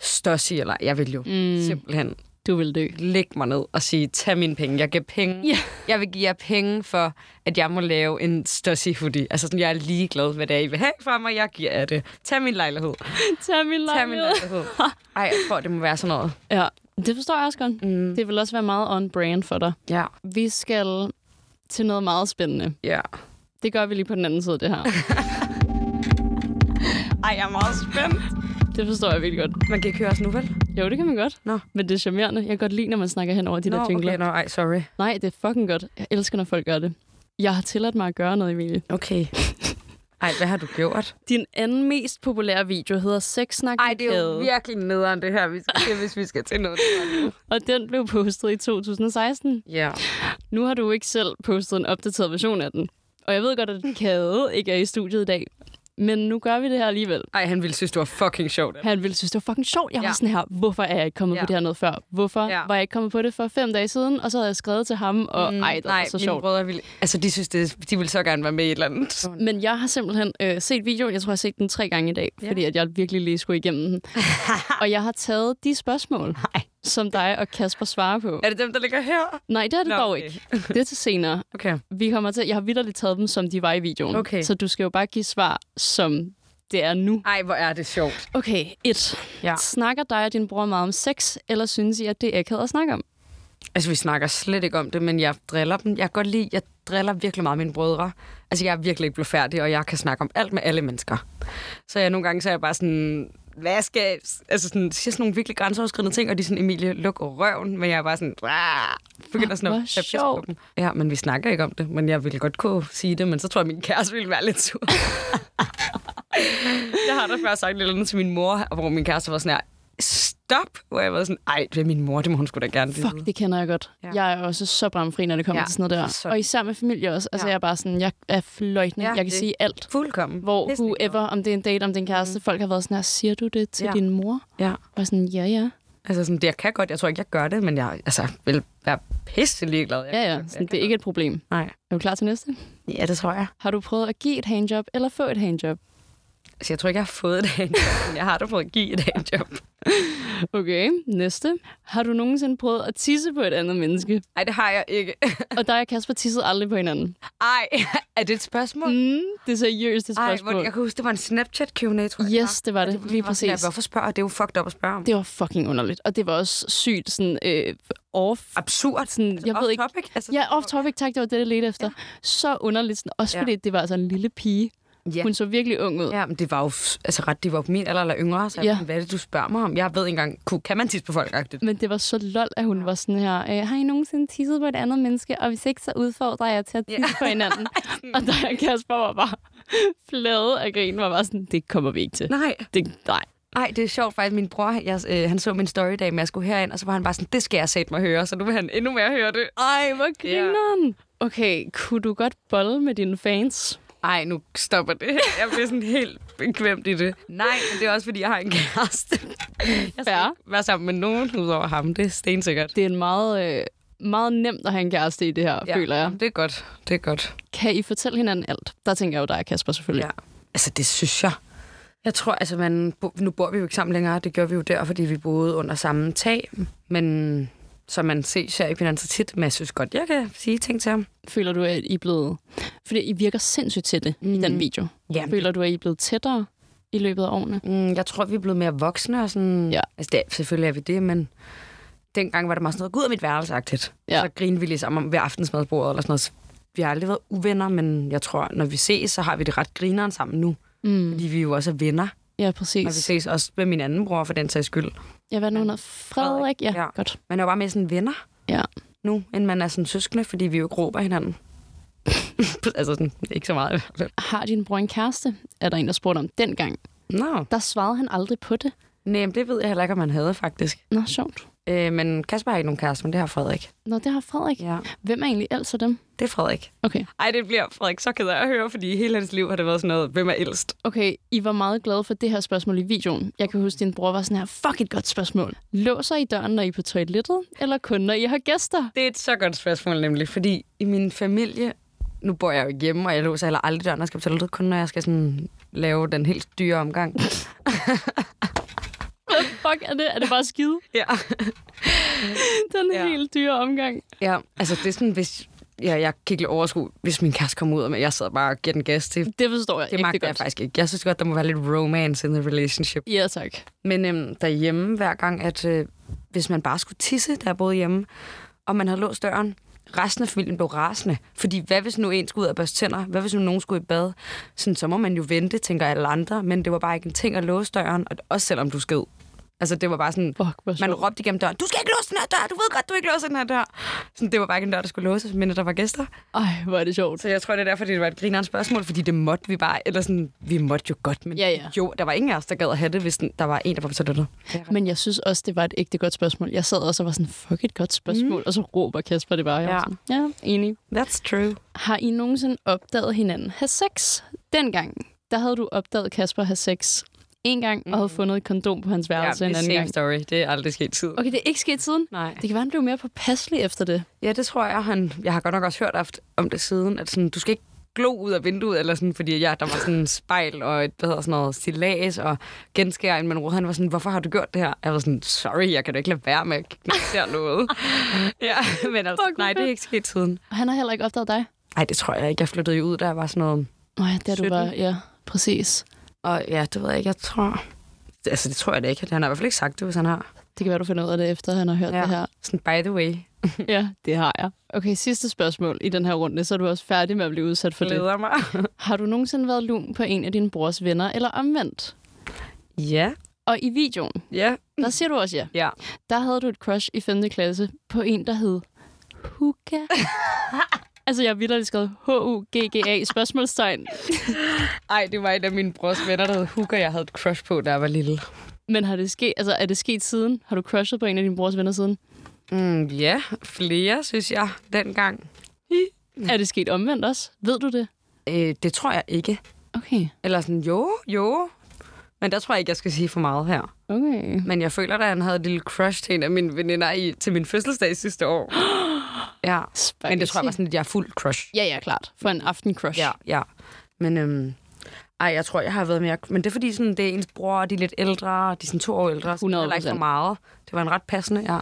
Speaker 2: Stossi, eller jeg vil jo mm. simpelthen
Speaker 1: Du vil dø.
Speaker 2: lægge mig ned og sige, tag mine penge, jeg giver penge.
Speaker 1: Ja.
Speaker 2: Jeg vil give jer penge for, at jeg må lave en Stossi hoodie. Altså sådan, jeg er ligeglad, hvad det er, I vil have fra mig, jeg giver jer det. Tag min lejlighed.
Speaker 1: Tag min
Speaker 2: Tag min lejlighed. Ej, jeg tror, det må være sådan noget.
Speaker 1: Ja, det forstår jeg også godt. Mm. Det vil også være meget on-brand for dig.
Speaker 2: Ja.
Speaker 1: Vi skal til noget meget spændende.
Speaker 2: Ja.
Speaker 1: Det gør vi lige på den anden side, af det her.
Speaker 2: Ej, jeg er meget spændt.
Speaker 1: Det forstår jeg virkelig godt.
Speaker 2: Man kan ikke høre os nu, vel?
Speaker 1: Jo, det kan man godt.
Speaker 2: Nå.
Speaker 1: Men det er charmerende. Jeg kan godt lide, når man snakker hen over de der jingler.
Speaker 2: okay, nå, ej, sorry.
Speaker 1: Nej, det er fucking godt. Jeg elsker, når folk gør det. Jeg har tilladt mig at gøre noget, Emilie.
Speaker 2: Okay. Ej, hvad har du gjort?
Speaker 1: Din anden mest populære video hedder Sexsnak med Kade,
Speaker 2: virkelig nederen, det her, vi skal til, hvis vi skal til noget.
Speaker 1: og den blev postet i 2016.
Speaker 2: Ja.
Speaker 1: Nu har du ikke selv postet en opdateret version af den. Og jeg ved godt, at Kade ikke er i studiet i dag. men nu gør vi det her alligevel.
Speaker 2: Ej, han ville synes, det var fucking sjovt.
Speaker 1: Han ville synes, det var fucking sjovt. Jeg var
Speaker 2: Ja.
Speaker 1: sådan her, hvorfor er jeg ikke kommet
Speaker 2: Ja.
Speaker 1: på det her noget før? Hvorfor
Speaker 2: Ja.
Speaker 1: var jeg ikke kommet på det for fem dage siden? Og så havde jeg skrevet til ham, og mm, ej, det var
Speaker 2: Nej,
Speaker 1: så
Speaker 2: mine
Speaker 1: sjovt.
Speaker 2: brødre ville... Altså, de synes, det, de ville så gerne være med i et eller andet.
Speaker 1: Men jeg har simpelthen øh, set videoen, jeg tror, jeg har set den tre gange i dag, ja. fordi at jeg virkelig lige skulle igennem den. og jeg har taget de spørgsmål, Nej. som dig og Kasper svarer på.
Speaker 2: Er det dem, der ligger her?
Speaker 1: Nej, det er det
Speaker 2: Nå,
Speaker 1: dog
Speaker 2: okay.
Speaker 1: ikke. Det er til senere.
Speaker 2: Okay.
Speaker 1: Vi kommer til, jeg har vidderligt taget dem, som de var i videoen.
Speaker 2: Okay.
Speaker 1: Så du skal jo bare give svar, som det er nu.
Speaker 2: Ej, hvor er det sjovt.
Speaker 1: Ah, Okay, et.
Speaker 2: Ja.
Speaker 1: Snakker dig og din bror meget om sex, eller synes I, at det er akavet at snakke om?
Speaker 2: Altså, vi snakker slet ikke om det, men jeg driller dem. Jeg kan godt lide, jeg driller virkelig meget mine brødre. Altså, jeg er virkelig ikke blufærdig, og jeg kan snakke om alt med alle mennesker. Så jeg nogle gange, så er jeg bare sådan, hvad skal jeg? Altså, sådan, siger sådan nogle virkelig grænseoverskridende ting, og de er sådan, Emilie, luk røven, men jeg er bare sådan, "Ah," begynder sådan
Speaker 1: Hvor
Speaker 2: at tage pis på
Speaker 1: sjovt.
Speaker 2: dem. Ja, men vi snakker ikke om det, men jeg ville godt kunne sige det, men så tror jeg, min kæreste ville være lidt sur. jeg har da før sagt et eller andet til min mor, hvor min kæreste var sådan her, stop, hvor jeg var sådan, ej, det er min mor, det må hun skulle da gerne vide.
Speaker 1: Fuck, det kender jeg godt. Ja.
Speaker 2: Ja.
Speaker 1: Jeg er også så bramfri, når det kommer ja.
Speaker 2: Ja,
Speaker 1: til sådan noget der.
Speaker 2: så-
Speaker 1: Og især med familie også. Altså, ja.
Speaker 2: Ja.
Speaker 1: jeg er bare sådan, jeg er fløjtende. Ja, jeg
Speaker 2: Ja,
Speaker 1: kan det.
Speaker 2: det-
Speaker 1: sige alt.
Speaker 2: Fuldkommen.
Speaker 1: Hvor
Speaker 2: Pisselig
Speaker 1: whoever, om det er en date, om det er en kæreste, mm. folk har været sådan her, siger du det til ja.
Speaker 2: Ja.
Speaker 1: din mor?
Speaker 2: Ja,
Speaker 1: Og sådan, ja, ja.
Speaker 2: altså sådan, det jeg kan godt. Jeg tror ikke, jeg gør det, men jeg altså, vil være pisse ligeglad. Jeg,
Speaker 1: Ja,
Speaker 2: jeg
Speaker 1: ja. Sådan,
Speaker 2: kan
Speaker 1: det er ikke et problem.
Speaker 2: godt. Nej.
Speaker 1: Er du klar til næste?
Speaker 2: Ja, det tror jeg.
Speaker 1: Har du prøvet at give et handjob, eller få et handjob?
Speaker 2: Altså, jeg tror ikke, jeg har fået et handjob, men jeg har da fået at give et handjob.
Speaker 1: Okay, næste. Har du nogensinde prøvet at tisse på et andet menneske?
Speaker 2: Nej, det har jeg ikke.
Speaker 1: Og dig og Kasper tissede aldrig på hinanden.
Speaker 2: Ej, er det et spørgsmål?
Speaker 1: Mm, det er seriøst et
Speaker 2: Ej,
Speaker 1: spørgsmål.
Speaker 2: hvor, jeg kan huske, det var en Snapchat Q&A, tror jeg.
Speaker 1: Yes, det var det. Lige præcis.
Speaker 2: Ja, hvorfor spørger? Det er jo fucked up at spørge om. Det
Speaker 1: Det var fucking underligt. Og det var også sygt sådan øh, off.
Speaker 2: er absurd.
Speaker 1: Sådan, jeg ved ikke.
Speaker 2: Topic? Altså,
Speaker 1: Ja, off topic, tak, det var det, jeg ledte efter. Så underligt. Sådan, også
Speaker 2: Ja.
Speaker 1: fordi det var altså en lille pige.
Speaker 2: Ja.
Speaker 1: Hun så virkelig ung ud.
Speaker 2: Ja, men det var jo f- altså ret, de var jo på min alder eller yngre, så jeg
Speaker 1: Ja.
Speaker 2: ja. hvad er det, du spørger mig om? Jeg ved ikke engang, kunne- kan man tisse på folk? agtigt?
Speaker 1: Men det var så lol, at hun var sådan her, øh, har I nogensinde tisset på et andet menneske? Og hvis ikke, så udfordrer jeg jer til at tisse yeah. på hinanden. og der og Kasper var bare flade af grin, var bare sådan, det kommer vi ikke til.
Speaker 2: Nej.
Speaker 1: Det, nej.
Speaker 2: Ej, det er sjovt faktisk. Min bror, jeg, øh, han så min story i dag, men jeg skulle herind, og så var han bare sådan, det skal jeg sætte mig høre, så nu vil han endnu mere høre det.
Speaker 1: Ej, hvor grineren. Yeah. Okay, kunne du godt bolle med dine fans?
Speaker 2: Ej, nu stopper det. Jeg bliver sådan helt bekvemt i det. Nej, men det er også, fordi jeg har en kæreste. Jeg skal
Speaker 1: Fair.
Speaker 2: ikke være sammen med nogen udover ham. Det er stensikkert.
Speaker 1: Det er en meget, øh, meget nemt at have en kæreste i det her, ja. føler jeg.
Speaker 2: Det er godt. Det er godt.
Speaker 1: Kan I fortælle hinanden alt? Der tænker jeg jo dig og Kasper selvfølgelig.
Speaker 2: Ja. Altså, det synes jeg. Jeg tror, altså, man, bo- nu bor vi jo ikke sammen længere. Det gør vi jo der, fordi vi boede under samme tag. Men så man ses her ikke hinanden så tit. Men jeg synes godt, jeg kan sige ting til ham.
Speaker 1: Føler du, at I er blevet... Fordi I virker sindssygt tætte mm. i den video.
Speaker 2: Jamen,
Speaker 1: Føler du, at I er blevet tættere i løbet af årene?
Speaker 2: Mm, jeg tror, vi er blevet mere voksne og sådan...
Speaker 1: Ja.
Speaker 2: Altså, det, er- selvfølgelig er vi det, men dengang var det meget sådan noget, gud af mit værelseagtigt.
Speaker 1: Ja.
Speaker 2: Ja. Så grinede vi lige sammen om ved aftensmadsbordet eller sådan noget. Så Vi har aldrig været uvenner, men jeg tror, når vi ses, så har vi det ret grineren sammen nu. Mm. Fordi vi jo også er venner,
Speaker 1: Ja, præcis.
Speaker 2: og vi ses også med min anden bror, for den sags skyld.
Speaker 1: Ja, hvad er noget? Frederik? Ja, ja,
Speaker 2: Ja.
Speaker 1: godt.
Speaker 2: Man er jo bare mere sådan venner
Speaker 1: Ja.
Speaker 2: nu, end man er sådan søskende, fordi vi jo ikke råber hinanden. altså sådan, ikke så meget. i hvert fald.
Speaker 1: Har din bror en kæreste? Er der en, der spurgte om dengang.
Speaker 2: Nå,
Speaker 1: Der svarede han aldrig på det.
Speaker 2: nej, men det ved jeg heller ikke, om man havde faktisk.
Speaker 1: Nå, sjovt.
Speaker 2: Øh, men Kasper har ikke nogen kæreste, men det har Frederik.
Speaker 1: Nå, det har Frederik.
Speaker 2: Ja.
Speaker 1: Hvem er egentlig altså dem?
Speaker 2: Det er Frederik.
Speaker 1: Okay.
Speaker 2: Ej, det bliver Frederik så ked af at høre, fordi hele hans liv har det været sådan noget, hvem er ældst?
Speaker 1: Okay, I var meget glade for det her spørgsmål i videoen. Jeg kan huske, at din bror var sådan her, fuck et godt spørgsmål. Låser I døren, når I er på toilettet, eller kun når I har gæster?
Speaker 2: Det er et så godt spørgsmål nemlig, fordi i min familie, nu bor jeg jo ikke hjemme, og jeg låser heller aldrig døren, og skal på toilettet, kun når jeg skal sådan lave den helt dyre omgang.
Speaker 1: Hvad fuck er det? Er det bare skide?
Speaker 2: ja.
Speaker 1: Den ja.
Speaker 2: Ja.
Speaker 1: helt dyre omgang.
Speaker 2: ja, altså det er sådan, hvis ja, jeg kan ikke overskue, hvis min kæreste kommer ud, og jeg sidder bare og giver den gas til.
Speaker 1: Det forstår jeg
Speaker 2: Det
Speaker 1: ikke
Speaker 2: magter jeg faktisk ikke. Jeg synes godt, der må være lidt romance in the relationship.
Speaker 1: Ja, tak.
Speaker 2: Men øhm, derhjemme, hver gang, at øh, hvis man bare skulle tisse, der boede hjemme, og man havde låst døren, resten af familien blev rasende. Fordi hvad hvis nu en skulle ud og børste tænder? Hvad hvis nu nogen skulle i bad? Sådan, så må man jo vente, tænker alle andre. Men det var bare ikke en ting at låse døren, og også selvom du sked. Altså, det var bare sådan...
Speaker 1: Fuck, hvor
Speaker 2: Man
Speaker 1: sjovt.
Speaker 2: råbte igennem døren, du skal ikke låse den her dør, du ved godt, du ikke låser den her dør. Sådan, det var bare ikke en dør, der skulle låses, men der var gæster.
Speaker 1: Ej, hvor er det sjovt.
Speaker 2: Så jeg tror, det er derfor, det var et grinerende spørgsmål, fordi det måtte vi bare, eller sådan, vi måtte jo godt, men
Speaker 1: Ja, ja.
Speaker 2: jo, der var ingen af os, der gad at have det, hvis den, der var en, der var på toilettet.
Speaker 1: Men jeg synes også, det var et ægte godt spørgsmål. Jeg sad også og var sådan, fuck et godt spørgsmål. Mm. Og så råber Kasper det bare. Jeg ja.
Speaker 2: Ja.
Speaker 1: Sådan, ja, enig.
Speaker 2: That's true.
Speaker 1: Har I nogensinde opdaget hinanden have sex dengang? der havde du opdaget Kasper have sex en gang, og havde fundet et kondom på hans
Speaker 2: Mm-hmm. Ja,
Speaker 1: værelse
Speaker 2: det
Speaker 1: en
Speaker 2: er
Speaker 1: anden
Speaker 2: same
Speaker 1: gang.
Speaker 2: story. Det er aldrig sket tid.
Speaker 1: Okay, det er ikke sket siden.
Speaker 2: Nej.
Speaker 1: Det kan være, han blev mere påpasselig efter det.
Speaker 2: Ja, det tror jeg, han... Jeg har godt nok også hørt aft- om det siden, at sådan, du skal ikke glo ud af vinduet, eller sådan, fordi ja, der var sådan en spejl og et, hvad hedder sådan noget, stilas og genskær, men Rode, han var sådan, hvorfor har du gjort det her? Jeg var sådan, sorry, jeg kan da ikke lade være med at knække noget. ja, men altså,
Speaker 1: Fuck, hvor
Speaker 2: nej, det er
Speaker 1: fedt.
Speaker 2: ikke sket siden.
Speaker 1: Og han har heller ikke opdaget dig.
Speaker 2: Nej, det tror jeg ikke. Jeg flyttede jo ud, da jeg var sådan noget...
Speaker 1: Nej, der du
Speaker 2: 17.
Speaker 1: var, ja, præcis.
Speaker 2: Og ja, det ved jeg ikke, jeg tror... Altså, det tror jeg da ikke. Han har i hvert fald ikke sagt det, hvis han har.
Speaker 1: Det kan være, du finder ud af det, efter han har hørt ja. det her.
Speaker 2: Sådan, by the way,
Speaker 1: Ja, det har jeg. Okay, sidste spørgsmål i den her runde, så er du også færdig med at blive udsat for det.
Speaker 2: glæder mig.
Speaker 1: Har du nogensinde været lun på en af dine brors venner, eller omvendt?
Speaker 2: ja,
Speaker 1: Og i videoen,
Speaker 2: ja,
Speaker 1: der siger du også ja.
Speaker 2: ja.
Speaker 1: Der havde du et crush i 5. klasse på en, der hed Huga. altså, jeg ville lige skrevet H-U-G-G-A spørgsmålstegn,
Speaker 2: Ej, det var en af mine brors venner, der hed Hooker, jeg havde et crush på, da jeg var lille.
Speaker 1: Men har det sket, altså, er det sket siden? Har du crushet på en af dine brors venner siden?
Speaker 2: Mm, ja, flere, synes jeg, dengang.
Speaker 1: Er det sket omvendt også? Ved du det?
Speaker 2: Øh, det tror jeg ikke.
Speaker 1: Okay.
Speaker 2: Eller sådan, jo, jo. Men der tror jeg ikke, jeg skal sige for meget her.
Speaker 1: Okay.
Speaker 2: Men jeg føler da, han havde et lille crush til en af mine veninder i, til min fødselsdag sidste år. Ja. Men det tror jeg var sådan, at jeg er fuld crush.
Speaker 1: Ja, ja, klart. For en aften-crush.
Speaker 2: Ja, ja. Men øhm, ej, jeg tror, jeg har været mere... Men det er fordi, sådan, det er ens bror, og de er lidt ældre, og de er sådan to år ældre. Så det er heller ikke for
Speaker 1: 100%.
Speaker 2: meget. Det var en ret passende, ja.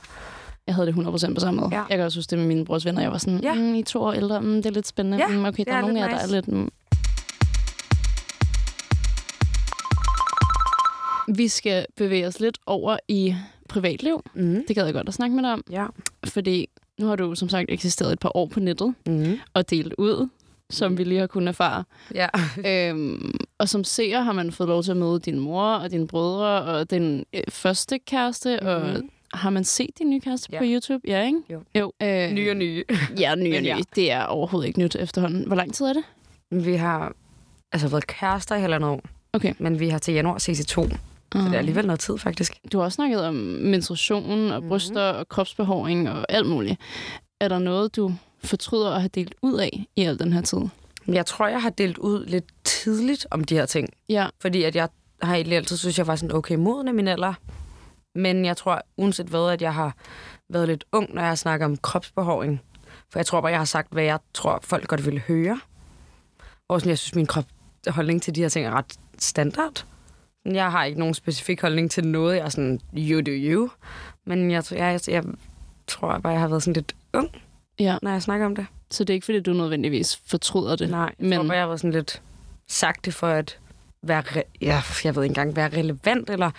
Speaker 1: Jeg havde det 100% på samme måde.
Speaker 2: Ja.
Speaker 1: Jeg kan også huske det med mine brors venner. Jeg var sådan, ja.
Speaker 2: Ja.
Speaker 1: mm, I er to år ældre, mm, det er lidt spændende.
Speaker 2: Ja,
Speaker 1: mm, okay,
Speaker 2: det
Speaker 1: der er
Speaker 2: er
Speaker 1: nogle af
Speaker 2: lidt
Speaker 1: jer, der er
Speaker 2: nice.
Speaker 1: lidt... Mm. Mm." Vi skal bevæge os lidt over i privatliv.
Speaker 2: Mm.
Speaker 1: Det gad jeg godt at snakke med dig om.
Speaker 2: Ja.
Speaker 1: Fordi nu har du som sagt eksisteret et par år på nettet
Speaker 2: Mm.
Speaker 1: og delt ud, som vi lige har kunnet erfare.
Speaker 2: Ja.
Speaker 1: Øhm, og som seer har man fået lov til at møde din mor og dine brødre og den øh, første kæreste. Mm. Og har man set din nye kæreste ja.
Speaker 2: Mhm. Ja.
Speaker 1: på YouTube? Ja, ikke?
Speaker 2: Jo.
Speaker 1: jo øh,
Speaker 2: Nye og nye.
Speaker 1: Ja, ny og
Speaker 2: Men
Speaker 1: ny.
Speaker 2: ja.
Speaker 1: Det er overhovedet ikke nyt efterhånden. Hvor lang tid er det?
Speaker 2: Vi har altså været kærester i halvandet år.
Speaker 1: Okay.
Speaker 2: Men vi har til januar ses i to. Så det er alligevel noget tid, faktisk.
Speaker 1: Du har også snakket om menstruation
Speaker 2: Mhm.
Speaker 1: og bryster og kropsbehåring og alt muligt. Er der noget, du fortryder at have delt ud af i al den her tid?
Speaker 2: Men jeg tror, jeg har delt ud lidt tidligt om de her ting.
Speaker 1: Ja,
Speaker 2: Fordi at jeg har egentlig altid synes, jeg var sådan okay moden af min alder. Men jeg tror, uanset hvad, at jeg har været lidt ung, når jeg snakker om kropsbehåring. For jeg tror bare, jeg har sagt, hvad jeg tror, folk godt ville høre. Og sådan, jeg synes, min krop, holdning til de her ting er ret standard. Jeg har ikke nogen specifik holdning til noget. Jeg er sådan, you do you. Men jeg, tror- jeg, jeg, jeg tror bare, jeg har været sådan lidt ung,
Speaker 1: ja.
Speaker 2: når jeg snakker om det.
Speaker 1: Så det er ikke, fordi du nødvendigvis fortryder det.
Speaker 2: Nej, jeg
Speaker 1: men
Speaker 2: men... tror bare, jeg var sådan lidt sagt det for at være, re- ja, jeg ved ikke engang, være relevant, eller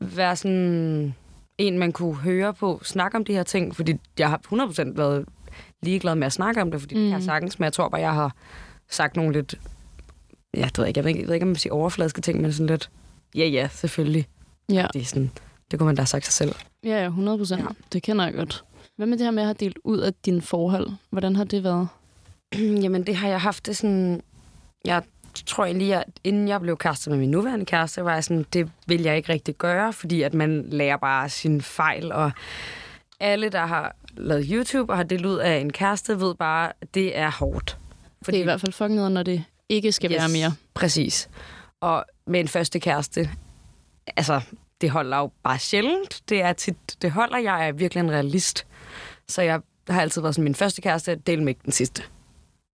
Speaker 2: være sådan en, man kunne høre på, snakke om de her ting, fordi jeg har 100% været ligeglad med at snakke om det, fordi mm. det kan jeg sagtens, men jeg tror bare, jeg har sagt nogle lidt, ja, det ved jeg ikke, jeg ved ikke, jeg ved ikke om man siger overfladiske ting, men sådan lidt, ja, ja, selvfølgelig.
Speaker 1: ja.
Speaker 2: Det er sådan, det kunne man da have sagt sig selv.
Speaker 1: ja, ja, 100 procent. Ja. Det kender jeg godt. Hvad med det her med at have delt ud af dine forhold? Hvordan har det været?
Speaker 2: Jamen, det har jeg haft det sådan... Jeg tror egentlig, at inden jeg blev kærester med min nuværende kæreste, var jeg sådan, det vil jeg ikke rigtig gøre, fordi at man lærer bare sine fejl, og alle, der har lavet YouTube og har delt ud af en kæreste, ved bare, at det er hårdt.
Speaker 1: Fordi... Det er i hvert fald fucking noget, når det ikke skal yes. være mere.
Speaker 2: Præcis. Og med en første kæreste, altså, det holder jo bare sjældent. Det er tit, det holder. Jeg er virkelig en realist. Så jeg har altid været sådan, min første kæreste, del med ikke den sidste.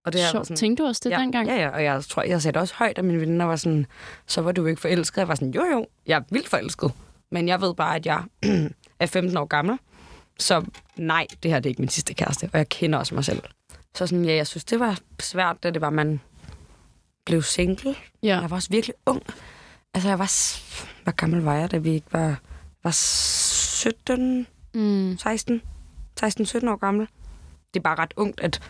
Speaker 2: Og har jeg været
Speaker 1: Sjovt. Tænkte du også det
Speaker 2: ja,
Speaker 1: dengang?
Speaker 2: Ja, ja, og jeg tror, jeg sagde det også højt, at mine venner var sådan, så var du ikke forelsket. Jeg var sådan, jo jo, jeg er vildt forelsket. Men jeg ved bare, at jeg er 15 år gammel. Så nej, det her det er ikke min sidste kæreste, og jeg kender også mig selv. Så sådan, ja, jeg synes, det var svært, da det var, man blev single.
Speaker 1: ja.
Speaker 2: Jeg var også virkelig ung. Altså, jeg var... s- Hvor gammel var jeg, da vi ikke var... var 17,
Speaker 1: Mm.
Speaker 2: 16, 16-17 år gamle. Det er bare ret ungt, at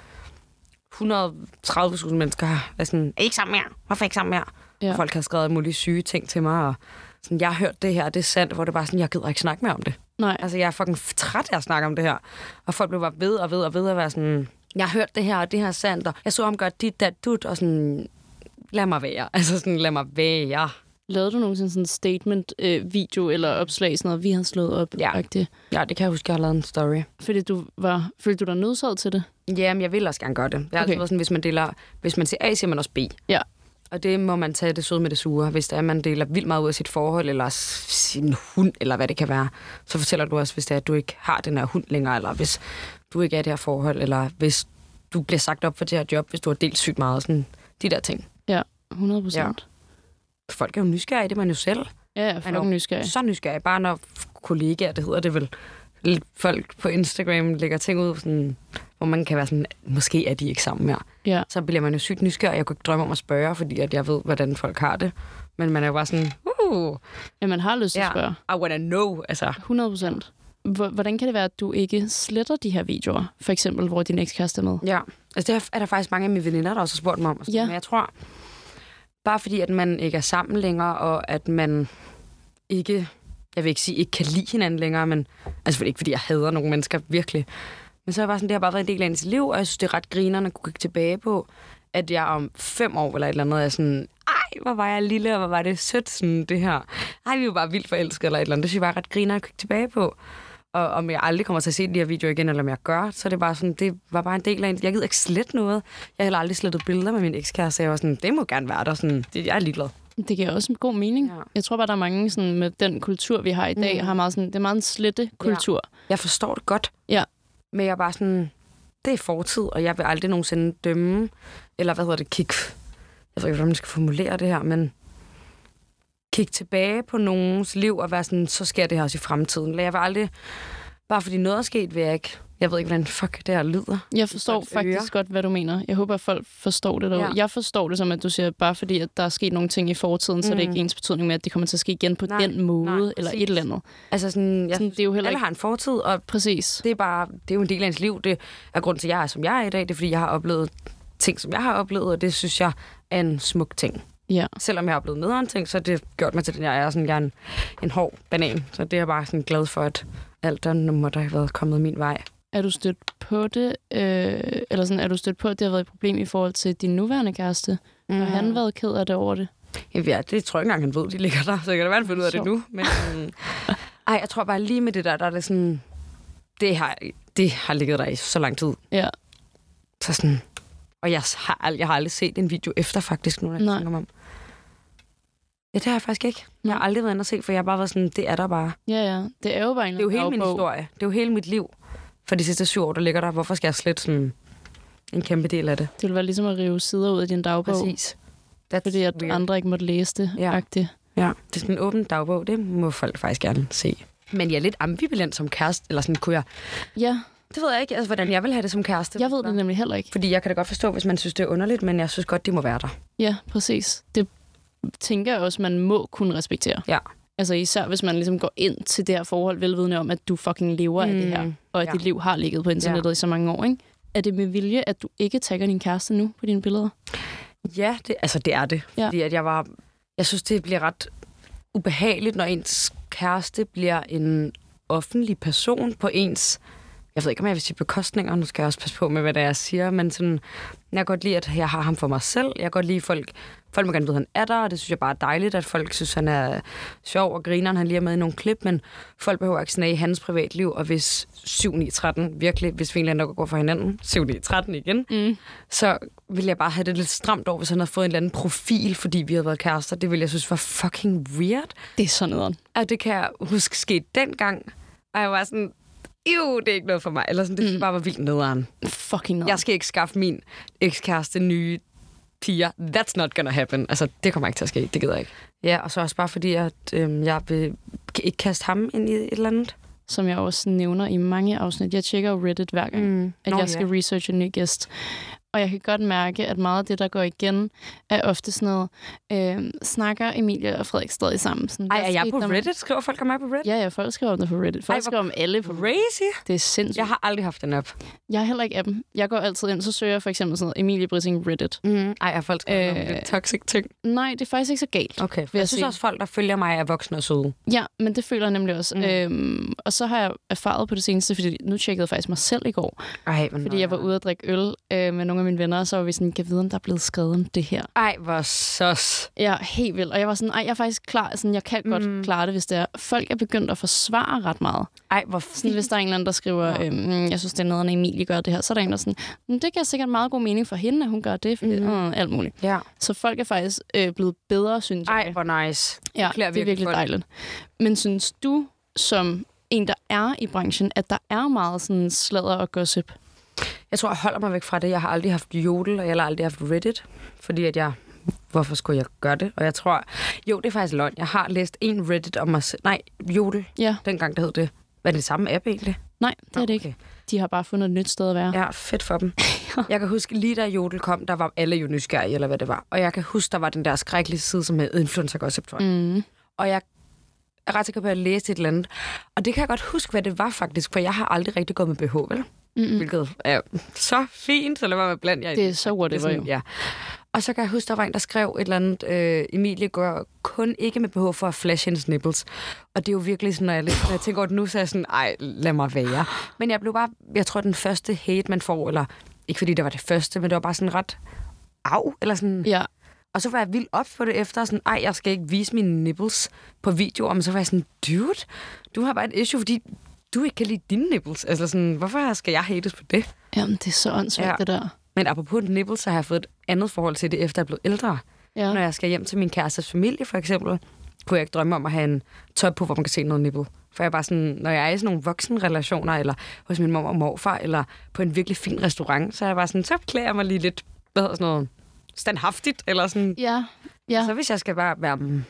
Speaker 2: 130.000 mennesker har været sådan, er I ikke sammen mere? Hvorfor ikke sammen mere?
Speaker 1: Ja.
Speaker 2: Ja. Folk har skrevet alle mulige syge ting til mig, og sådan, jeg har hørt det her, og det er sandt, hvor det bare er sådan, jeg gider ikke snakke mere om det.
Speaker 1: Nej.
Speaker 2: Altså, jeg er fucking f- træt af at snakke om det her. Og folk blev bare ved og ved og ved at være sådan, jeg har hørt det her, og det her er sandt, og jeg så ham gøre dit, dat, dut, og sådan, lad mig være. Altså sådan, lad mig være.
Speaker 1: Lavede du nogensinde sådan en statement-video eller opslag, sådan noget, vi har slået op?
Speaker 2: Ja.
Speaker 1: agtigt?
Speaker 2: Ja, det kan jeg huske, jeg har lavet en story.
Speaker 1: Fordi du var, følte du dig nødsaget til det?
Speaker 2: Jamen, jeg vil også gerne gøre det. Jeg har
Speaker 1: Okay.
Speaker 2: okay. altid været sådan, hvis man deler, hvis man siger A, siger man også B.
Speaker 1: Ja.
Speaker 2: Og det må man tage det søde med det sure. Hvis det er, at man deler vildt meget ud af sit forhold, eller s- sin hund, eller hvad det kan være, så fortæller du også, hvis det er, at du ikke har den her hund længere, eller hvis du ikke er i det her forhold, eller hvis du bliver sagt op for det her job, hvis du har delt sygt meget. Sådan, de der ting.
Speaker 1: Ja, 100 procent.
Speaker 2: Folk er jo nysgerrige, det er man jo selv.
Speaker 1: Ja, jeg er
Speaker 2: er
Speaker 1: fucking
Speaker 2: jo
Speaker 1: nysgerrig.
Speaker 2: Så nysgerrig. Bare når f- kollegaer, det hedder det vel, l- folk på Instagram lægger ting ud, sådan, hvor man kan være sådan, måske er de ikke sammen mere.
Speaker 1: Ja.
Speaker 2: Så bliver man jo sygt nysgerrig. Jeg kunne ikke drømme om at spørge, fordi at jeg ved, hvordan folk har det. Men man er jo bare sådan, uh,
Speaker 1: ja, man har lyst til at
Speaker 2: ja,
Speaker 1: spørge.
Speaker 2: I wanna know. Altså,
Speaker 1: 100 procent. Hvordan kan det være, at du ikke sletter de her videoer? For eksempel, hvor din ekskæreste er med.
Speaker 2: ja. Altså, det er der faktisk mange af mine veninder, der også har spurgt mig om. Og sådan,
Speaker 1: Ja.
Speaker 2: Men jeg tror, bare fordi, at man ikke er sammen længere, og at man ikke, jeg vil ikke sige, ikke kan lide hinanden længere, men altså ikke fordi, jeg hader nogle mennesker virkelig. Men så er jeg bare sådan, det har bare været en del af ens liv, og jeg synes, det er ret grinerende at kunne kigge tilbage på, at jeg om fem år eller et eller andet er sådan, ej, hvor var jeg lille, og hvor var det sødt, sådan det her. Ej, vi var bare vildt forelskede eller et eller andet. Det synes jeg bare er ret griner at kigge tilbage på. Og om jeg aldrig kommer til at se de her videoer igen, eller om jeg gør, så er det bare sådan, det var bare en del af en. Jeg gider ikke slette noget. Jeg har heller aldrig slettet billeder med min ekskæreste, så jeg var sådan, det må gerne være der. Sådan, det, jeg er ligeglad.
Speaker 1: Det giver også en god mening.
Speaker 2: Ja. Mm.
Speaker 1: Jeg tror bare, der er mange sådan, med den kultur, vi har i dag, har meget sådan, det er meget en slette kultur.
Speaker 2: Jeg forstår det godt,
Speaker 1: Ja.
Speaker 2: men jeg er bare sådan, det er fortid, og jeg vil aldrig nogensinde dømme, eller hvad hedder det, kigge, jeg ved ikke, hvordan man skal formulere det her, men kigge tilbage på nogens liv og være sådan, så sker det her også i fremtiden. Eller Jeg vil aldrig, bare fordi noget er sket, vil jeg ikke, jeg ved ikke, hvordan fuck det her lyder.
Speaker 1: Jeg forstår
Speaker 2: folks
Speaker 1: faktisk
Speaker 2: ører.
Speaker 1: godt, hvad du mener. Jeg håber, at folk forstår det derude.
Speaker 2: Ja.
Speaker 1: Jeg forstår det som, at du siger, bare fordi at der er sket nogle ting i fortiden, mm. så er det ikke ens betydning med, at det kommer til at ske igen på
Speaker 2: Nej,
Speaker 1: den måde,
Speaker 2: nej,
Speaker 1: eller et
Speaker 2: præcis.
Speaker 1: eller andet.
Speaker 2: Altså sådan, jeg,
Speaker 1: Sådan, det er jo heller
Speaker 2: alle
Speaker 1: ikke-
Speaker 2: har en fortid, og
Speaker 1: Præcis.
Speaker 2: det er bare, det er jo en del af ens liv. Det er grund til, at jeg er, som jeg er i dag. Det er, fordi jeg har oplevet ting, som jeg har oplevet, og det synes jeg er en smuk ting.
Speaker 1: Ja.
Speaker 2: selvom jeg har oplevet nederen ting, så har det gjort mig til den, jeg er. Sådan, jeg er en, en hård banan. Så det er jeg bare sådan glad for, at alt der nu måtte have været kommet min vej.
Speaker 1: Er du stødt på det, øh, eller sådan, er du stødt på, at det har været et problem i forhold til din nuværende kæreste? Mm. Har han været ked af det over det?
Speaker 2: Jamen, ja, det tror jeg ikke engang, han ved, de ligger der. Så jeg kan da være, han finder ud af det
Speaker 1: Sjovt.
Speaker 2: nu. Men, øhm, ej, jeg tror bare lige med det der, der er det sådan... Det har, det har ligget der i så lang tid.
Speaker 1: Ja.
Speaker 2: Så sådan... Og jeg har, ald- jeg har aldrig set en video efter, faktisk, nu når jeg
Speaker 1: Nej.
Speaker 2: tænker mig om. Ja, det har jeg faktisk ikke. Jeg har aldrig været inde og se, for jeg har bare været sådan, det er der bare.
Speaker 1: Ja, ja. Det er jo bare en
Speaker 2: Det er jo hele min
Speaker 1: dagbog.
Speaker 2: historie. Det er jo hele mit liv. For de sidste syv år, der ligger der. Hvorfor skal jeg slet sådan en kæmpe del af det?
Speaker 1: Det ville være ligesom at rive sider ud af din dagbog,
Speaker 2: Præcis. That's
Speaker 1: fordi at
Speaker 2: weird.
Speaker 1: andre ikke måtte læse det.
Speaker 2: Ja.
Speaker 1: Agtigt.
Speaker 2: Ja, det er sådan en åben dagbog. Det må folk faktisk gerne se. Men jeg er lidt ambivalent som kæreste. Eller sådan kunne jeg...
Speaker 1: ja.
Speaker 2: Det ved jeg ikke, altså, hvordan jeg vil have det som kæreste.
Speaker 1: Jeg ved det nemlig heller ikke.
Speaker 2: Fordi jeg kan da godt forstå, hvis man synes, det er underligt, men jeg synes godt, det må være der.
Speaker 1: Ja, præcis. Det tænker jeg også, man må kunne respektere.
Speaker 2: Ja.
Speaker 1: Altså især hvis man ligesom går ind til det her forhold, velvidende om, at du fucking lever mm, af det her, og at ja.
Speaker 2: ja.
Speaker 1: dit liv har ligget på internettet ja. i så mange år, ikke? Er det med vilje, at du ikke tagger din kæreste nu på dine billeder?
Speaker 2: Ja, det, altså det er det.
Speaker 1: Ja.
Speaker 2: Ja. Fordi at jeg var... Jeg synes, det bliver ret ubehageligt, når ens kæreste bliver en offentlig person på ens... Jeg ved ikke, om jeg vil sige bekostninger. Nu skal jeg også passe på med, hvad det er, jeg siger. Men sådan, jeg kan godt lide, at jeg har ham for mig selv. Jeg kan godt lide, at folk, folk må gerne vide, at han er der. Og det synes jeg bare er dejligt, at folk synes, han er sjov og grineren. Han lige er med i nogle klip, men folk behøver ikke snage i hans privatliv. Og hvis 7-9-13 virkelig, hvis vi egentlig går for hinanden, 7-9-13 igen, mm. så ville jeg bare have det lidt stramt over, hvis han havde fået en eller anden profil, fordi vi havde været kærester. Det ville jeg synes var fucking weird.
Speaker 1: Det er sådan noget.
Speaker 2: Og det kan jeg huske skete dengang. Og jeg var sådan, jo, det er ikke noget for mig. Eller sådan, det synes jeg bare var vildt nederen.
Speaker 1: Fucking noget.
Speaker 2: Jeg skal ikke skaffe min ekskæreste nye piger. That's not gonna happen. Altså, det kommer ikke til at ske. Det gider jeg ikke. Ja, og så også bare fordi, at øhm, jeg vil ikke kaste ham ind i et eller andet.
Speaker 1: Som jeg også nævner i mange afsnit. Jeg tjekker jo Reddit hver gang, mm. at
Speaker 2: Nå,
Speaker 1: jeg skal researche en ny gæst. Og jeg kan godt mærke, at meget af det, der går igen, er ofte sådan noget, øh, snakker Emilie og Frederik stadig sammen. Sådan,
Speaker 2: Ej,
Speaker 1: hvad
Speaker 2: er jeg
Speaker 1: skete
Speaker 2: på
Speaker 1: der med-
Speaker 2: Reddit? Skriver folk om mig på Reddit?
Speaker 1: Ja, ja, folk skriver om det på Reddit. Folk
Speaker 2: Ej,
Speaker 1: Ej,
Speaker 2: hvor
Speaker 1: skriver om alle på Reddit.
Speaker 2: Crazy.
Speaker 1: Det er sindssygt.
Speaker 2: Jeg har aldrig haft den op.
Speaker 1: Jeg er heller ikke appen. Jeg går altid ind, så søger jeg for eksempel sådan noget Emilie Brissing Reddit.
Speaker 2: Mm. Ej, er folk skrevet øh...
Speaker 1: Øh,
Speaker 2: om lidt toxic ting?
Speaker 1: Nej, det er faktisk ikke så galt.
Speaker 2: Okay,
Speaker 1: vil
Speaker 2: jeg,
Speaker 1: jeg
Speaker 2: jeg
Speaker 1: sige.
Speaker 2: synes også, folk, der følger mig, er voksne og søde.
Speaker 1: Ja, men det føler jeg nemlig også. Mm. Øhm, og så har jeg erfaret på det seneste, fordi nu tjekkede jeg faktisk mig selv i går,
Speaker 2: Ej, men
Speaker 1: fordi jeg var ude at drikke øl øh, med nogle af mine venner, og så var vi sådan, kan vide, om der er blevet skrevet om det her.
Speaker 2: Ej, hvor sos.
Speaker 1: Ja, helt vildt. Og jeg var sådan, ej, jeg er faktisk klar, sådan, jeg kan godt mm. klare det, hvis det er. Folk er begyndt at forsvare ret meget.
Speaker 2: Ej, hvor
Speaker 1: Sådan, hvis der er en eller anden, der skriver, øhm, jeg synes, det er noget, når Emilie gør det her, så er der en, der er sådan, "Mm, det giver sikkert meget god mening for hende, at hun gør det,
Speaker 2: Mm-hmm.
Speaker 1: fordi, mm. øh, alt muligt.
Speaker 2: Ja.
Speaker 1: Så folk er faktisk øh, blevet bedre, synes jeg.
Speaker 2: Ej, hvor nice.
Speaker 1: ja, det
Speaker 2: klæder
Speaker 1: er virkelig
Speaker 2: folk.
Speaker 1: dejligt. Men synes du, som en, der er i branchen, at der er meget sådan sladder og gossip?
Speaker 2: Jeg tror, jeg holder mig væk fra det. Jeg har aldrig haft Jodel, og jeg har aldrig haft Reddit, fordi at jeg... Hvorfor skulle jeg gøre det? Og jeg tror... Jo, det er faktisk løgn. Jeg har læst en Reddit om mig selv. Nej, Jodel.
Speaker 1: Ja,
Speaker 2: Dengang, der hed det. Var det samme app egentlig?
Speaker 1: nej, det er det ikke. De har bare fundet et nyt sted at være.
Speaker 2: Ja, fedt for dem. Jeg kan huske, lige da Jodel kom, der var alle jo nysgerrige, eller hvad det var. Og jeg kan huske, der var den der skrækkelige side, som hed Influencer Gossip, tror jeg.
Speaker 1: Mm.
Speaker 2: Og jeg er ret sikker på, at jeg læste et eller andet. Og det kan jeg godt huske, hvad det var faktisk, for jeg har aldrig rigtig gået med BH, vel? Mm-hmm. Hvilket er så fint, så lad være med blandt jer. i
Speaker 1: Det er så
Speaker 2: Det er
Speaker 1: whatever
Speaker 2: sådan,
Speaker 1: jo.
Speaker 2: ja. Og så kan jeg huske, der var en, der skrev et eller andet, øh, Emilie gør kun ikke med behov for at flashe hendes nipples. Og det er jo virkelig sådan, når jeg, læ- når jeg tænker over det nu, så er jeg sådan, ej, lad mig være. Men jeg blev bare, jeg tror, den første hate, man får, eller ikke fordi det var det første, men det var bare sådan ret af, eller sådan.
Speaker 1: Ja,
Speaker 2: Og så var jeg vildt op for det efter, sådan, ej, jeg skal ikke vise mine nipples på videoer. Men så var jeg sådan, dude, du har bare et issue, fordi du ikke kan lide dine nipples. Altså sådan, hvorfor skal jeg hates på det?
Speaker 1: Jamen, det er så åndssvagt, ja.
Speaker 2: Ja.
Speaker 1: det der.
Speaker 2: Men apropos nipples, så har jeg fået et andet forhold til det, efter jeg er blevet ældre.
Speaker 1: Ja.
Speaker 2: Når jeg skal hjem til min kærestes familie, for eksempel, kunne jeg ikke drømme om at have en top på, hvor man kan se noget nipple. For jeg er bare sådan, når jeg er i sådan nogle voksenrelationer, eller hos min mor og morfar, eller på en virkelig fin restaurant, så er jeg bare sådan, så klæder jeg mig lige lidt, hvad hedder sådan noget, standhaftigt, eller sådan.
Speaker 1: Ja, ja.
Speaker 2: Så hvis jeg skal bare være mm,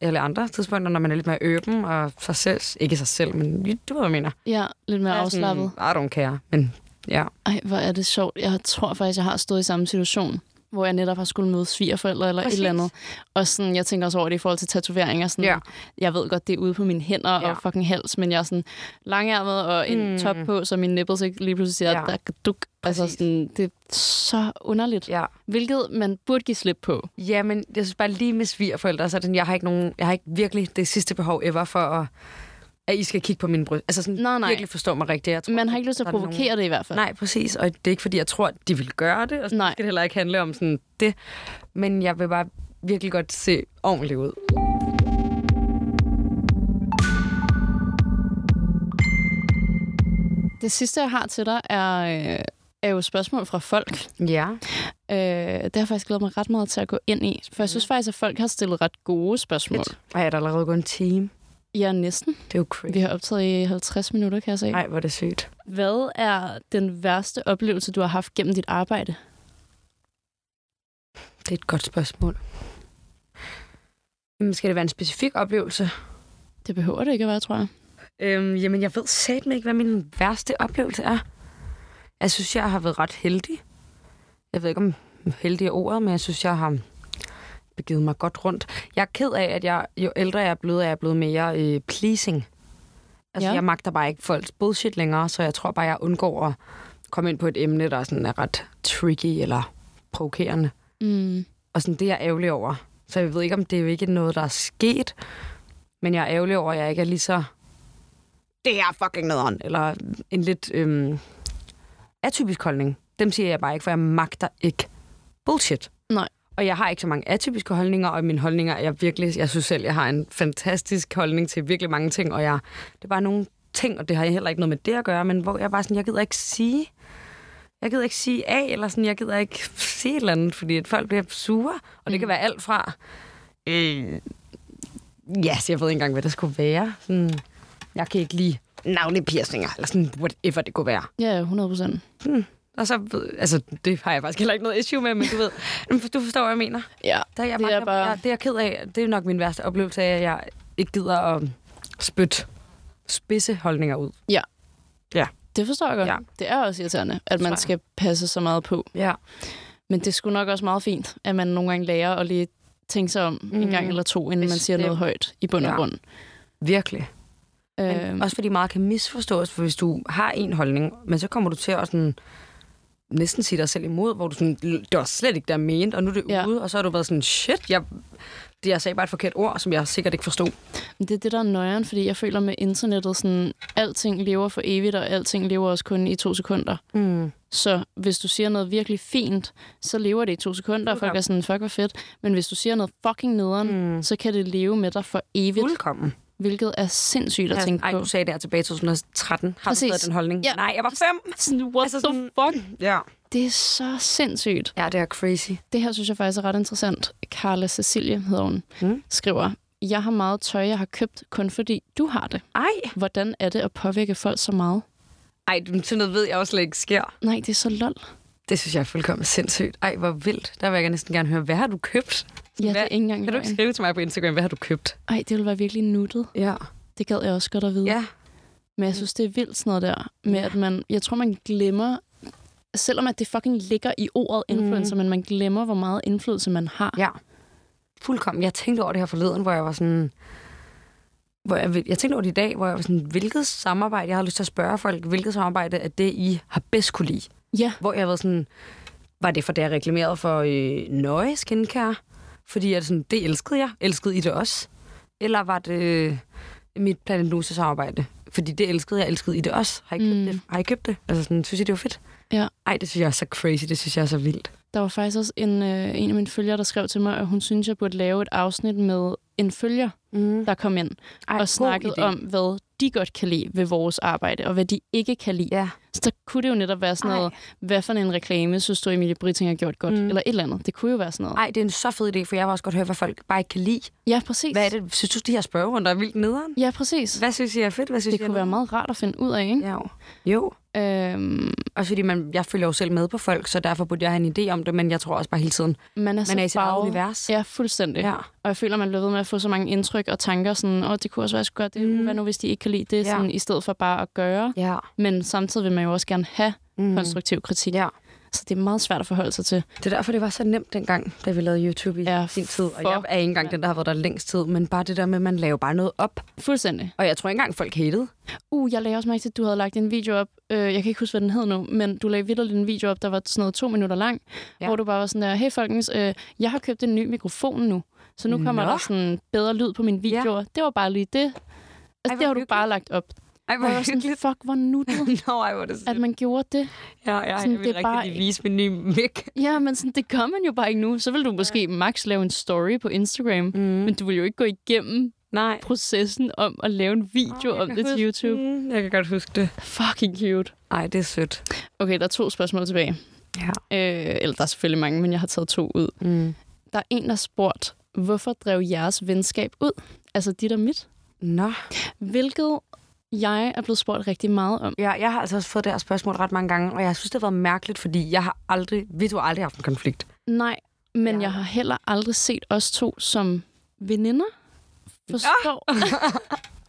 Speaker 2: eller andre tidspunkter, når man er lidt mere åben, og sig selv, ikke sig selv, men du ved, hvad jeg mener.
Speaker 1: ja lidt mere
Speaker 2: Jeg er sådan,
Speaker 1: afslappet.
Speaker 2: I don't care, men ja.
Speaker 1: Ej, hvor er det sjovt. Jeg tror faktisk, jeg har stået i samme situation, hvor jeg netop har skulle møde svigerforældre eller Præcis.
Speaker 2: Præcis.
Speaker 1: et eller andet. Og sådan, jeg tænker også over det i forhold til tatoveringer. Sådan,
Speaker 2: Ja.
Speaker 1: Jeg ved godt, det er ude på mine hænder ja.
Speaker 2: Ja.
Speaker 1: og fucking hals, men jeg er sådan langærmet og en mm. top på, så mine nipples ikke lige pludselig siger,
Speaker 2: Ja.
Speaker 1: ja. duk. Altså
Speaker 2: Præcis.
Speaker 1: sådan, det er så underligt.
Speaker 2: Ja.
Speaker 1: Hvilket man burde give slip på.
Speaker 2: Ja, men jeg synes bare lige med svigerforældre, så er det sådan, jeg har ikke nogen, jeg har ikke virkelig det sidste behov ever for at, at I skal kigge på mine bryst. Altså sådan,
Speaker 1: Nej, nej.
Speaker 2: virkelig forstå mig rigtigt. Jeg tror,
Speaker 1: Man har ikke lyst til at
Speaker 2: der er
Speaker 1: provokere det i hvert fald.
Speaker 2: Nogen... Nej, præcis, og det er ikke fordi, jeg tror, at de vil gøre det, og så
Speaker 1: Nej.
Speaker 2: skal det heller ikke handle om sådan det. Men jeg vil bare virkelig godt se ordentligt ud.
Speaker 1: Det sidste, jeg har til dig, er, øh, er jo spørgsmål fra folk.
Speaker 2: Ja.
Speaker 1: Øh, det har jeg faktisk glædet mig ret meget til at gå ind i. For jeg synes faktisk, at folk har stillet ret gode spørgsmål.
Speaker 2: Fedt. Ej, er der allerede gået en time?
Speaker 1: Ja, næsten.
Speaker 2: Det er jo crazy.
Speaker 1: Vi har optaget i 50 minutter, kan jeg se.
Speaker 2: Nej, hvor er det sygt.
Speaker 1: Hvad er den værste oplevelse, du har haft gennem dit arbejde?
Speaker 2: Det er et godt spørgsmål. Jamen, skal det være en specifik oplevelse?
Speaker 1: Det behøver det ikke at være, tror jeg.
Speaker 2: Øhm, jamen, jeg ved satme ikke, hvad min værste oplevelse er. Jeg synes, jeg har været ret heldig. Jeg ved ikke, om heldig er ordet, men jeg synes, jeg har begivet mig godt rundt. Jeg er ked af, at jeg, jo ældre jeg er blevet, er jeg blevet mere øh, pleasing. Altså,
Speaker 1: Ja.
Speaker 2: ja. jeg magter bare ikke folks bullshit længere, så jeg tror bare, jeg undgår at komme ind på et emne, der sådan er ret tricky eller provokerende.
Speaker 1: Mm.
Speaker 2: Og sådan, det er jeg ærgerlig over. Så jeg ved ikke, om det er jo ikke noget, der er sket. Men jeg er ærgerlig over, at jeg ikke er lige så... Det her er fucking nederen. Eller en lidt øhm, atypisk holdning. Dem siger jeg bare ikke, for jeg magter ikke bullshit.
Speaker 1: Nej.
Speaker 2: Og jeg har ikke så mange atypiske holdninger, og mine holdninger er jeg virkelig... Jeg synes selv, jeg har en fantastisk holdning til virkelig mange ting, og jeg, det er bare nogle ting, og det har heller ikke noget med det at gøre, men hvor jeg bare sådan, jeg gider ikke sige... Jeg gider ikke sige A, eller sådan, jeg gider ikke sige et eller andet, fordi at folk bliver sure, og
Speaker 1: Mm.
Speaker 2: det kan være alt fra... Øh, ja, så jeg ved ikke engang, hvad det skulle være. Sådan, jeg kan ikke lide navlepiercinger, eller sådan, whatever det kunne være.
Speaker 1: Ja, 100 procent.
Speaker 2: Og så, ved- altså, det har jeg faktisk heller ikke noget issue med, men du ved, du forstår, hvad jeg mener.
Speaker 1: Ja,
Speaker 2: Der, jeg
Speaker 1: det er bare...
Speaker 2: jeg, det er jeg ked af. Det er nok min værste oplevelse af, at jeg ikke gider at spytte spidse holdninger ud.
Speaker 1: Det forstår jeg godt. Ja.
Speaker 2: Ja.
Speaker 1: Det er også irriterende, at
Speaker 2: Tror
Speaker 1: man
Speaker 2: jeg.
Speaker 1: skal passe så meget på.
Speaker 2: Ja.
Speaker 1: Men det skulle nok også meget fint, at man nogle gange lærer at lige tænke sig om mm. en gang eller to, inden man siger
Speaker 2: Bestemt.
Speaker 1: noget højt i bund og
Speaker 2: Ja.
Speaker 1: grund.
Speaker 2: Virkelig.
Speaker 1: Ja.
Speaker 2: Øhm. Også fordi meget kan misforstås, for hvis du har en holdning, men så kommer du til at sådan, næsten sige dig selv imod, hvor du sådan, det var slet ikke der ment, og nu er det
Speaker 1: Ja.
Speaker 2: ja. ude, og så har du været sådan, shit, jeg, det, jeg sagde bare et forkert ord, som jeg sikkert ikke forstod.
Speaker 1: Men Det er det, der er nøjeren, fordi jeg føler med internettet, sådan, alting lever for evigt, og alting lever også kun i to sekunder.
Speaker 2: Mm.
Speaker 1: Så hvis du siger noget virkelig fint, så lever det i to sekunder, og folk
Speaker 2: Fuldkommen.
Speaker 1: er sådan, fuck, hvor fedt. Men hvis du siger noget fucking nederen, mm. så kan det leve med dig for evigt,
Speaker 2: Fuldkommen.
Speaker 1: hvilket er sindssygt at
Speaker 2: Jeg
Speaker 1: tænke
Speaker 2: Ej,
Speaker 1: på.
Speaker 2: du sagde det her tilbage i 2013. Har
Speaker 1: Præcis.
Speaker 2: Præcis. du stadig den holdning?
Speaker 1: Ja.
Speaker 2: Nej, jeg var fem.
Speaker 1: Sådan, what
Speaker 2: Altså
Speaker 1: altså,
Speaker 2: sådan-
Speaker 1: the fuck?
Speaker 2: Ja.
Speaker 1: Det er så sindssygt.
Speaker 2: Ja, det er crazy.
Speaker 1: Det her synes jeg faktisk er ret interessant. Carla Cecilie hedder hun,
Speaker 2: Mm.
Speaker 1: mm. skriver, jeg har meget tøj, jeg har købt, kun fordi du har det.
Speaker 2: Ej.
Speaker 1: Hvordan er det at påvirke folk så meget?
Speaker 2: Ej, men sådan noget ved jeg også slet ikke sker.
Speaker 1: Nej, det er så lol.
Speaker 2: Det synes jeg er fuldkommen sindssygt. Ej, hvor vildt. Der vil jeg næsten gerne høre, hvad har du købt?
Speaker 1: Ja, det er
Speaker 2: Hvad-
Speaker 1: ikke engang
Speaker 2: Kan du ikke
Speaker 1: løgn.
Speaker 2: skrive til mig på Instagram, hvad har du købt?
Speaker 1: Ej, det ville være virkelig nuttet.
Speaker 2: Ja.
Speaker 1: Det gad jeg også godt at vide.
Speaker 2: Ja.
Speaker 1: Men jeg synes, det er vildt sådan noget der. Med at man, jeg tror, man glemmer, selvom at det fucking ligger i ordet influencer, men man glemmer, hvor meget indflydelse man har.
Speaker 2: Mm. Ja. Fuldkommen. Jeg tænkte over det her forleden, hvor jeg var sådan... Hvor jeg, jeg tænkte over det i dag, hvor jeg var sådan, hvilket samarbejde, jeg har lyst til at spørge folk, hvilket samarbejde er det, I har bedst kunne lide?
Speaker 1: ja.
Speaker 2: Hvor jeg var sådan, var det for, da jeg reklamerede for øh, Nøje Skincare? Fordi jeg sådan, det elskede jeg. Elskede I det også? Eller var det øh, mit Planet Nusa samarbejde? Fordi det elskede jeg. Elskede I det også? Har I købt, mm. det? Har I købt det? Altså sådan, synes jeg, det var fedt?
Speaker 1: Ja.
Speaker 2: Ej, det synes jeg er så crazy. Det synes jeg er så vildt.
Speaker 1: Der var faktisk også en, øh, en af mine følgere, der skrev til mig, at hun synes, jeg burde lave et afsnit med en følger,
Speaker 2: Mm.
Speaker 1: der kom ind
Speaker 2: Ej, god
Speaker 1: og snakkede
Speaker 2: idé.
Speaker 1: om, hvad de godt kan lide ved vores arbejde, og hvad de ikke kan lide.
Speaker 2: Ja.
Speaker 1: Så der kunne det jo netop være sådan
Speaker 2: Ej.
Speaker 1: noget, hvad for en reklame, synes du, Emilie Britting har gjort godt, mm. eller et eller andet. Det kunne jo være sådan noget.
Speaker 2: Ej, det er en så fed idé, for jeg vil også godt høre, hvad folk bare ikke kan lide.
Speaker 1: Ja, præcis.
Speaker 2: Hvad er det? Synes du, de her spørgerunder er vildt nederen?
Speaker 1: Ja, præcis.
Speaker 2: Hvad synes I er fedt? Hvad synes
Speaker 1: Det
Speaker 2: I er
Speaker 1: kunne være meget rart at finde ud af, ikke?
Speaker 2: nederen? Ja. Jo.
Speaker 1: Ja. Øhm,
Speaker 2: Også fordi man, jeg følger jo selv med på folk, så derfor burde jeg have en idé om det, men jeg tror også bare hele tiden,
Speaker 1: man er, så
Speaker 2: man er i sit eget
Speaker 1: farvet.
Speaker 2: univers.
Speaker 1: Ja, fuldstændig.
Speaker 2: Ja.
Speaker 1: Og jeg føler, man bliver ved med at få så mange indtryk og tanker, sådan, åh, det kunne også være, at jeg skulle gøre det, mm. hvad nu, hvis de ikke kan lide det,
Speaker 2: Ja.
Speaker 1: ja. sådan, i stedet for bare at gøre.
Speaker 2: Ja.
Speaker 1: Men samtidig vil man jo også gerne have mm. konstruktiv kritik.
Speaker 2: ja.
Speaker 1: Så det er meget svært at forholde sig til.
Speaker 2: Det er derfor, det var så nemt dengang, da vi lavede YouTube i
Speaker 1: Ja,
Speaker 2: sin tid. Og
Speaker 1: fuck,
Speaker 2: jeg er ikke engang den, der har været der længst tid, men bare det der med, at man laver bare noget op.
Speaker 1: Fuldstændig.
Speaker 2: Og jeg tror ikke engang, folk hatede.
Speaker 1: Uh, jeg lagde også mærke til, at du havde lagt en video op. Øh, jeg kan ikke huske, hvad den hed nu, men du lagde vidderligt en video op, der var sådan noget to minutter lang,
Speaker 2: Ja.
Speaker 1: ja. hvor du bare var sådan der, hey folkens, øh, jeg har købt en ny mikrofon nu, så nu kommer
Speaker 2: Nå.
Speaker 1: der sådan bedre lyd på mine videoer. Ja. Det var bare lige det. Altså,
Speaker 2: hvor
Speaker 1: det har du
Speaker 2: hyggeligt.
Speaker 1: bare lagt op.
Speaker 2: Ej,
Speaker 1: Hvor jeg var sådan, fuck, hvor nuttet,
Speaker 2: Nå, ej, hvor er det
Speaker 1: at
Speaker 2: sådan.
Speaker 1: man gjorde det.
Speaker 2: Ja, ja, jeg
Speaker 1: sådan,
Speaker 2: vil
Speaker 1: det er
Speaker 2: rigtig
Speaker 1: bare-
Speaker 2: lige vise min nye mic.
Speaker 1: Ja, men sådan, det gør man jo bare ikke nu. Så vil du måske max lave en story på Instagram, mm. men du vil jo ikke gå igennem
Speaker 2: Nej.
Speaker 1: processen om at lave en video oh, om det til YouTube.
Speaker 2: Mm, jeg kan godt huske det.
Speaker 1: Fucking cute.
Speaker 2: Ej, det er sødt.
Speaker 1: Okay, der er to spørgsmål tilbage.
Speaker 2: Ja.
Speaker 1: Øh, eller der er selvfølgelig mange, men jeg har taget to ud.
Speaker 2: Mm.
Speaker 1: Der er en, der har spurgt, hvorfor drev jeres venskab ud? Altså dit og mit.
Speaker 2: Nå.
Speaker 1: Hvilket jeg er blevet spurgt rigtig meget om.
Speaker 2: Ja, jeg har altså også fået det her spørgsmål ret mange gange, og jeg synes, det har været mærkeligt, fordi jeg har aldrig, vi to har aldrig haft en konflikt.
Speaker 1: Nej, men
Speaker 2: Ja.
Speaker 1: ja. jeg har heller aldrig set os to som veninder. Forstår,
Speaker 2: Ah.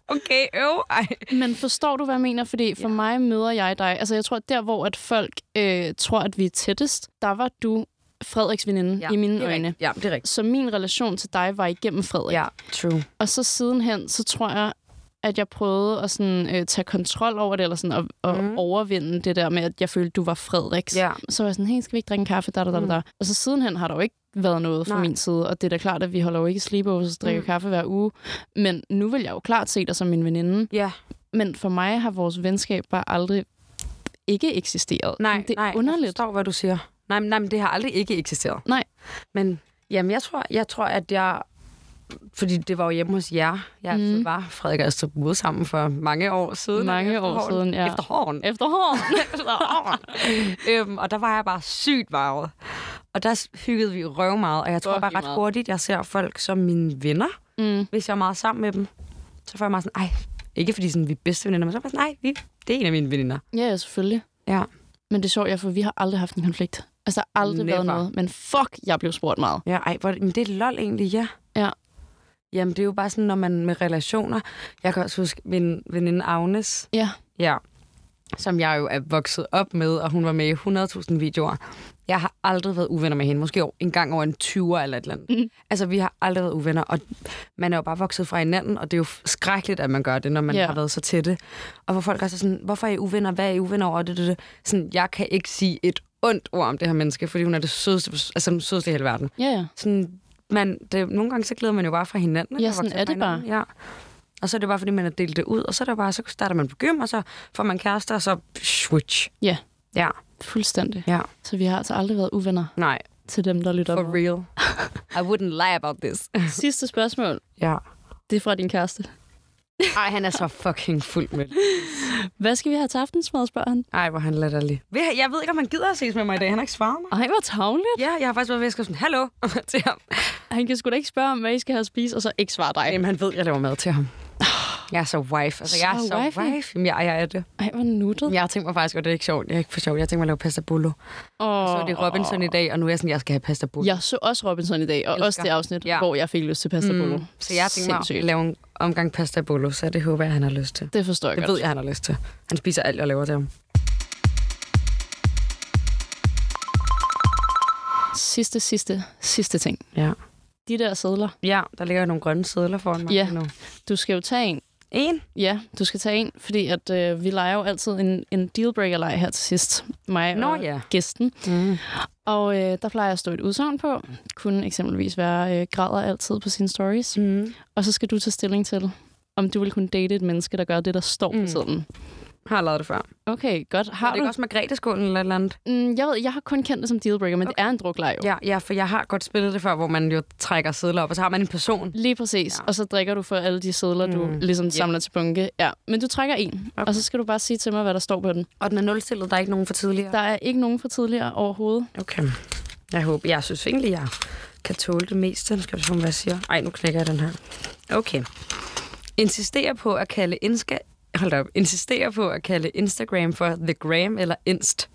Speaker 2: Okay, øv, ej.
Speaker 1: Men forstår du, hvad jeg mener? Fordi for ja. mig møder jeg dig. Altså, jeg tror, at der, hvor at folk øh, tror, at vi er tættest, der var du Frederiks veninde ja, i mine
Speaker 2: det er
Speaker 1: øjne.
Speaker 2: Rigtigt. Ja, det er rigtigt.
Speaker 1: Så min relation til dig var igennem Frederik.
Speaker 2: Ja, true.
Speaker 1: Og så sidenhen, så tror jeg, at jeg prøvede at sådan, øh, tage kontrol over det, eller sådan, at, at mm. overvinde det der med, at jeg følte, du var Frederiks.
Speaker 2: Ja.
Speaker 1: Så var jeg sådan, hey, skal vi ikke drikke en kaffe? Da, da, da, da. Mm. Og så sidenhen har der jo ikke været noget fra
Speaker 2: Nej.
Speaker 1: min side, og det er da klart, at vi holder jo ikke sleepovers og drikker mm. kaffe hver uge. Men nu vil jeg jo klart se dig som min veninde.
Speaker 2: Ja,
Speaker 1: Men for mig har vores venskab bare aldrig ikke eksisteret.
Speaker 2: nej,
Speaker 1: det er
Speaker 2: nej, Jeg
Speaker 1: underligt.
Speaker 2: forstår, hvad du siger. Nej, men, nej, men det har aldrig ikke eksisteret.
Speaker 1: Nej.
Speaker 2: Men jamen, jeg, tror, jeg tror, at jeg... Fordi det var jo hjemme hos jer. Jeg mm. altid var Frederik og Astrup ude sammen for mange år siden.
Speaker 1: Mhm. Mange år
Speaker 2: Efterhånden.
Speaker 1: siden, ja.
Speaker 2: Efterhånden.
Speaker 1: Efterhånden.
Speaker 2: øhm, og der var jeg bare sygt varvet. Og der s- hyggede vi røv meget, og jeg tror bare
Speaker 1: Fucking
Speaker 2: ret
Speaker 1: meget.
Speaker 2: hurtigt, jeg ser folk som mine venner, mm. hvis jeg er meget sammen med dem. Så får jeg meget sådan, ej, ikke fordi sådan, vi er bedste veninder, men så er jeg bare sådan, nej, vi, det er en af mine veninder.
Speaker 1: ja, ja, selvfølgelig.
Speaker 2: Ja.
Speaker 1: Men det er sjovt, ja, for vi har aldrig haft en konflikt. Altså, der har aldrig
Speaker 2: Never.
Speaker 1: været noget. Men fuck, jeg blev spurgt meget.
Speaker 2: Ja, ej, hvor, men det er lol egentlig, ja.
Speaker 1: Ja.
Speaker 2: Jamen, det er jo bare sådan, når man med relationer... Jeg kan også huske min veninde Agnes,
Speaker 1: Ja.
Speaker 2: ja, som jeg jo er vokset op med, og hun var med i 100.000 videoer. Jeg har aldrig været uvenner med hende. Måske en gang over en 20'er eller et eller andet. Mm. Altså, vi har aldrig været uvenner, og man er jo bare vokset fra hinanden, og det er jo skrækkeligt, at man gør det, når man
Speaker 1: Ja.
Speaker 2: har været så tætte. Og hvor folk er så sådan, hvorfor er I uvenner? Hvad er I uvenner over? Det, det, det. Sådan, jeg kan ikke sige et ondt ord om det her menneske, fordi hun er det sødeste, altså, den sødeste i hele verden
Speaker 1: Ja, ja.
Speaker 2: sådan, man, det, nogle gange så glæder man jo bare fra hinanden. ikke?
Speaker 1: Ja,
Speaker 2: Og
Speaker 1: sådan
Speaker 2: vokser
Speaker 1: er
Speaker 2: fra
Speaker 1: det bare.
Speaker 2: hinanden, Ja. Og så er det bare, fordi man har delt det ud, og så, er det bare, så starter man på gym, og så får man kærester, og så switch.
Speaker 1: Ja.
Speaker 2: Ja,
Speaker 1: Fuldstændig.
Speaker 2: ja.
Speaker 1: Så vi har altså aldrig været uvenner
Speaker 2: Nej,
Speaker 1: til dem, der lytter
Speaker 2: for
Speaker 1: med.
Speaker 2: real. I wouldn't lie about this.
Speaker 1: Sidste spørgsmål.
Speaker 2: ja.
Speaker 1: Det er fra din kæreste.
Speaker 2: Ej, han er så fucking fuld med
Speaker 1: Hvad skal vi have til aftensmad, spørger han.
Speaker 2: Ej, hvor er han latterlig. Ved han- Jeg ved ikke, om han gider at ses med mig i dag. Han har ikke svaret mig.
Speaker 1: Ej, hvor tavligt.
Speaker 2: Ja, jeg har faktisk været ved at skrive sådan, hallo til ham.
Speaker 1: Han kan sgu da ikke spørge om, hvad I skal have at spise, og så ikke svare dig.
Speaker 2: Jamen, han ved, jeg laver mad til ham. Jeg er så wife. Altså, jeg er
Speaker 1: Så
Speaker 2: så
Speaker 1: wifey.
Speaker 2: wife. wife. Jamen, jeg, jeg er det.
Speaker 1: Ej, hvor nuttet.
Speaker 2: Jeg har tænkt mig faktisk, og det er ikke sjovt. Jeg er ikke for sjovt. Jeg har tænkt mig at lave pasta bolo.
Speaker 1: Åh,
Speaker 2: Så er det Robinson i dag, og nu er jeg sådan, jeg skal have pasta bolo.
Speaker 1: Jeg så også Robinson i dag, og Elsker.
Speaker 2: Elsker.
Speaker 1: også det afsnit, ja.
Speaker 2: Ja.
Speaker 1: hvor jeg fik lyst til pasta bolo. Mm,
Speaker 2: Så jeg har tænkt mig at lave en omgang pasta bolo, så det håber jeg, han har lyst til.
Speaker 1: Det forstår jeg
Speaker 2: Det
Speaker 1: godt.
Speaker 2: ved jeg, han har lyst til. Han spiser alt, jeg laver til ham.
Speaker 1: Sidste, sidste, sidste ting.
Speaker 2: Ja.
Speaker 1: De der sædler.
Speaker 2: Ja, der ligger nogle grønne sædler foran mig
Speaker 1: Ja.
Speaker 2: nu.
Speaker 1: Du skal jo tage en.
Speaker 2: En?
Speaker 1: Ja, du skal tage en, fordi at, øh, vi leger jo altid en, en dealbreaker-leg her til sidst. Mig
Speaker 2: Nå
Speaker 1: og
Speaker 2: ja.
Speaker 1: gæsten.
Speaker 2: Mm.
Speaker 1: Og øh, der plejer at stå et udsagn på. Kunne eksempelvis være, øh, græder altid på sine stories.
Speaker 2: Mm.
Speaker 1: Og så skal du tage stilling til, om du vil kunne date et menneske, der gør det, der står mm. på
Speaker 2: Mm.
Speaker 1: siden.
Speaker 2: Har jeg lavet det før.
Speaker 1: Okay, godt.
Speaker 2: Har
Speaker 1: Har
Speaker 2: er det
Speaker 1: du?
Speaker 2: ikke også Margrethe-skålen eller et eller andet?
Speaker 1: Mm, jeg, ved, jeg har kun kendt det som dealbreaker, men okay. det er en drukleg jo.
Speaker 2: Ja, ja, for jeg har godt spillet det før, hvor man jo trækker sædler op, og så har man en person.
Speaker 1: Lige præcis. Ja.
Speaker 2: Ja.
Speaker 1: Og så drikker du for alle de sædler, du mm.
Speaker 2: Mm.
Speaker 1: ligesom samler til bunke. Ja. Men du trækker en, okay. og så skal du bare sige til mig, hvad der står på den.
Speaker 2: Og den er nulstillet, der er ikke nogen for tidligere.
Speaker 1: Der er ikke nogen for tidligere overhovedet.
Speaker 2: Okay. Jeg håber, jeg synes egentlig, jeg kan tåle det meste. Nu skal vi se, hvad jeg siger. Ej, nu knækker jeg den her. Okay. Insisterer på at kalde Insta... Hold da op. Insisterer på at kalde Instagram for The Gram eller Inst.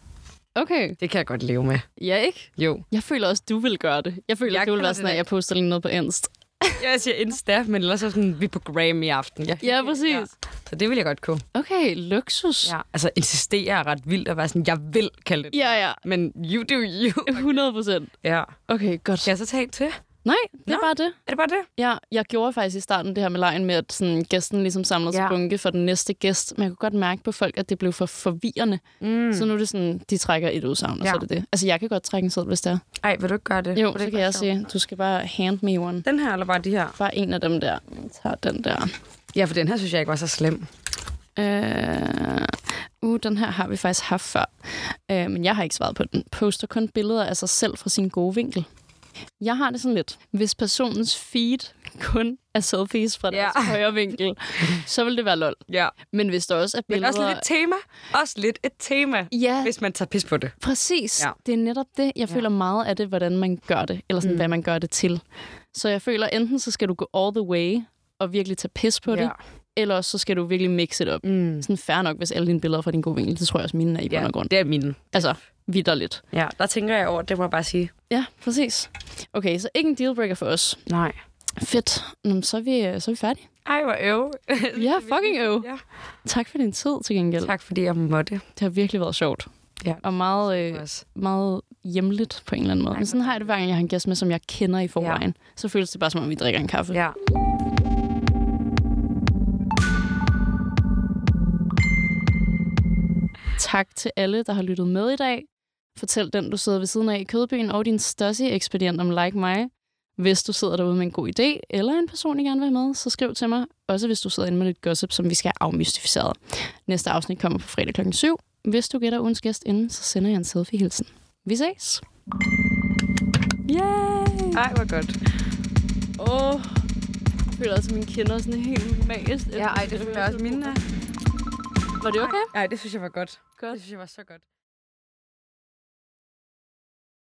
Speaker 1: Okay.
Speaker 2: Det kan jeg godt leve med.
Speaker 1: Ja, ikke?
Speaker 2: Jo.
Speaker 1: Jeg føler også, du vil gøre det. Jeg føler,
Speaker 2: Jeg
Speaker 1: jeg du vil
Speaker 2: kalder
Speaker 1: være
Speaker 2: det
Speaker 1: sådan, at
Speaker 2: det.
Speaker 1: jeg poster lige noget på Inst.
Speaker 2: Jeg siger Insta, men ellers er sådan, vi er på Gram i aften. Jeg,
Speaker 1: Ja, præcis.
Speaker 2: Så det vil jeg godt kunne.
Speaker 1: Okay, luksus. Ja,
Speaker 2: Ja. Altså, insisterer er ret vildt at være sådan, jeg vil kalde det.
Speaker 1: ja. ja.
Speaker 2: Men you do you.
Speaker 1: 100 procent.
Speaker 2: Ja.
Speaker 1: Okay, godt.
Speaker 2: Skal jeg så tage en til?
Speaker 1: Nej, det er
Speaker 2: Nå.
Speaker 1: bare det.
Speaker 2: Er det bare det?
Speaker 1: Ja, jeg gjorde faktisk i starten det her med lejen med, at sådan, gæsten ligesom samlede sig
Speaker 2: Ja.
Speaker 1: bunke for den næste gæst. Men jeg kunne godt mærke på folk, at det blev for forvirrende. Mm. Så nu er det sådan, de trækker et udsagn, og
Speaker 2: Ja.
Speaker 1: så er det det. Altså, jeg kan godt trække en sæd, hvis det er.
Speaker 2: Ej, vil du ikke gøre det?
Speaker 1: Jo,
Speaker 2: Vil du
Speaker 1: så
Speaker 2: ikke
Speaker 1: kan
Speaker 2: være
Speaker 1: jeg
Speaker 2: sjov?
Speaker 1: sige, du skal bare hand me one.
Speaker 2: Den her, eller bare de her?
Speaker 1: Bare en af dem der. Jeg tager den der.
Speaker 2: Ja, for den her synes jeg ikke var så slem.
Speaker 1: Øh, uh, den her har vi faktisk haft før. Øh, men jeg har ikke svaret på den. Poster kun billeder af sig selv fra sin gode vinkel. Jeg har det sådan lidt. Hvis personens feed kun er selfies fra deres
Speaker 2: Ja.
Speaker 1: højre vinkel, så vil det være lol.
Speaker 2: Ja.
Speaker 1: Men hvis der også er
Speaker 2: Men
Speaker 1: billeder...
Speaker 2: også lidt et tema. Også lidt et tema,
Speaker 1: Ja,
Speaker 2: hvis man tager pis på det.
Speaker 1: Præcis. Ja.
Speaker 2: Ja.
Speaker 1: Det er netop det. Jeg
Speaker 2: Ja.
Speaker 1: føler meget af det, hvordan man gør det, eller sådan, mm. hvad man gør det til. Så jeg føler, enten så skal du gå all the way og virkelig tage pis på ja. det, eller også så skal du virkelig mix it up. Mm. Sådan fair nok, hvis alle dine billeder er fra din gode vinkel. Det tror jeg også, mine er i bund
Speaker 2: Ja,
Speaker 1: og grund.
Speaker 2: det er mine.
Speaker 1: Altså, vidderligt.
Speaker 2: Ja, der tænker jeg over, det må jeg bare sige.
Speaker 1: Ja, præcis. Okay, så ikke en dealbreaker for os.
Speaker 2: Nej.
Speaker 1: Fedt. Nå, men så, er vi, øh, så er vi færdige.
Speaker 2: Ej, hvor øv.
Speaker 1: Ja, fucking øv.
Speaker 2: Ja.
Speaker 1: Tak for din tid til gengæld.
Speaker 2: Tak, fordi jeg måtte.
Speaker 1: Det har virkelig været sjovt.
Speaker 2: Ja.
Speaker 1: Og meget, øh,
Speaker 2: Også.
Speaker 1: meget hjemligt på en eller anden måde. Men sådan har jeg det hver gang, jeg har en gæst med, som jeg kender i forvejen. Ja. Så føles det bare, som om vi drikker en kaffe.
Speaker 2: Ja.
Speaker 1: Tak til alle, der har lyttet med i dag. Fortæl den, du sidder ved siden af i Kødbyen, og din største ekspedient om Like Mig. Hvis du sidder derude med en god idé, eller en person, I gerne vil have med, så skriv til mig. Også hvis du sidder inde med lidt gossip, som vi skal have afmystificeret. Næste afsnit kommer på fredag kl. 7. Hvis du gætter ugens gæst inden, så sender jeg en selfie-hilsen. Vi ses! Yay!
Speaker 2: Ej, hvor godt.
Speaker 1: Åh, oh, jeg føler også, at mine kinder er sådan helt magisk.
Speaker 2: Ja, ej, det føler jeg også mine. er.
Speaker 1: Var det okay?
Speaker 2: Ej, det synes jeg var godt.
Speaker 1: Godt.
Speaker 2: Det synes jeg var så godt.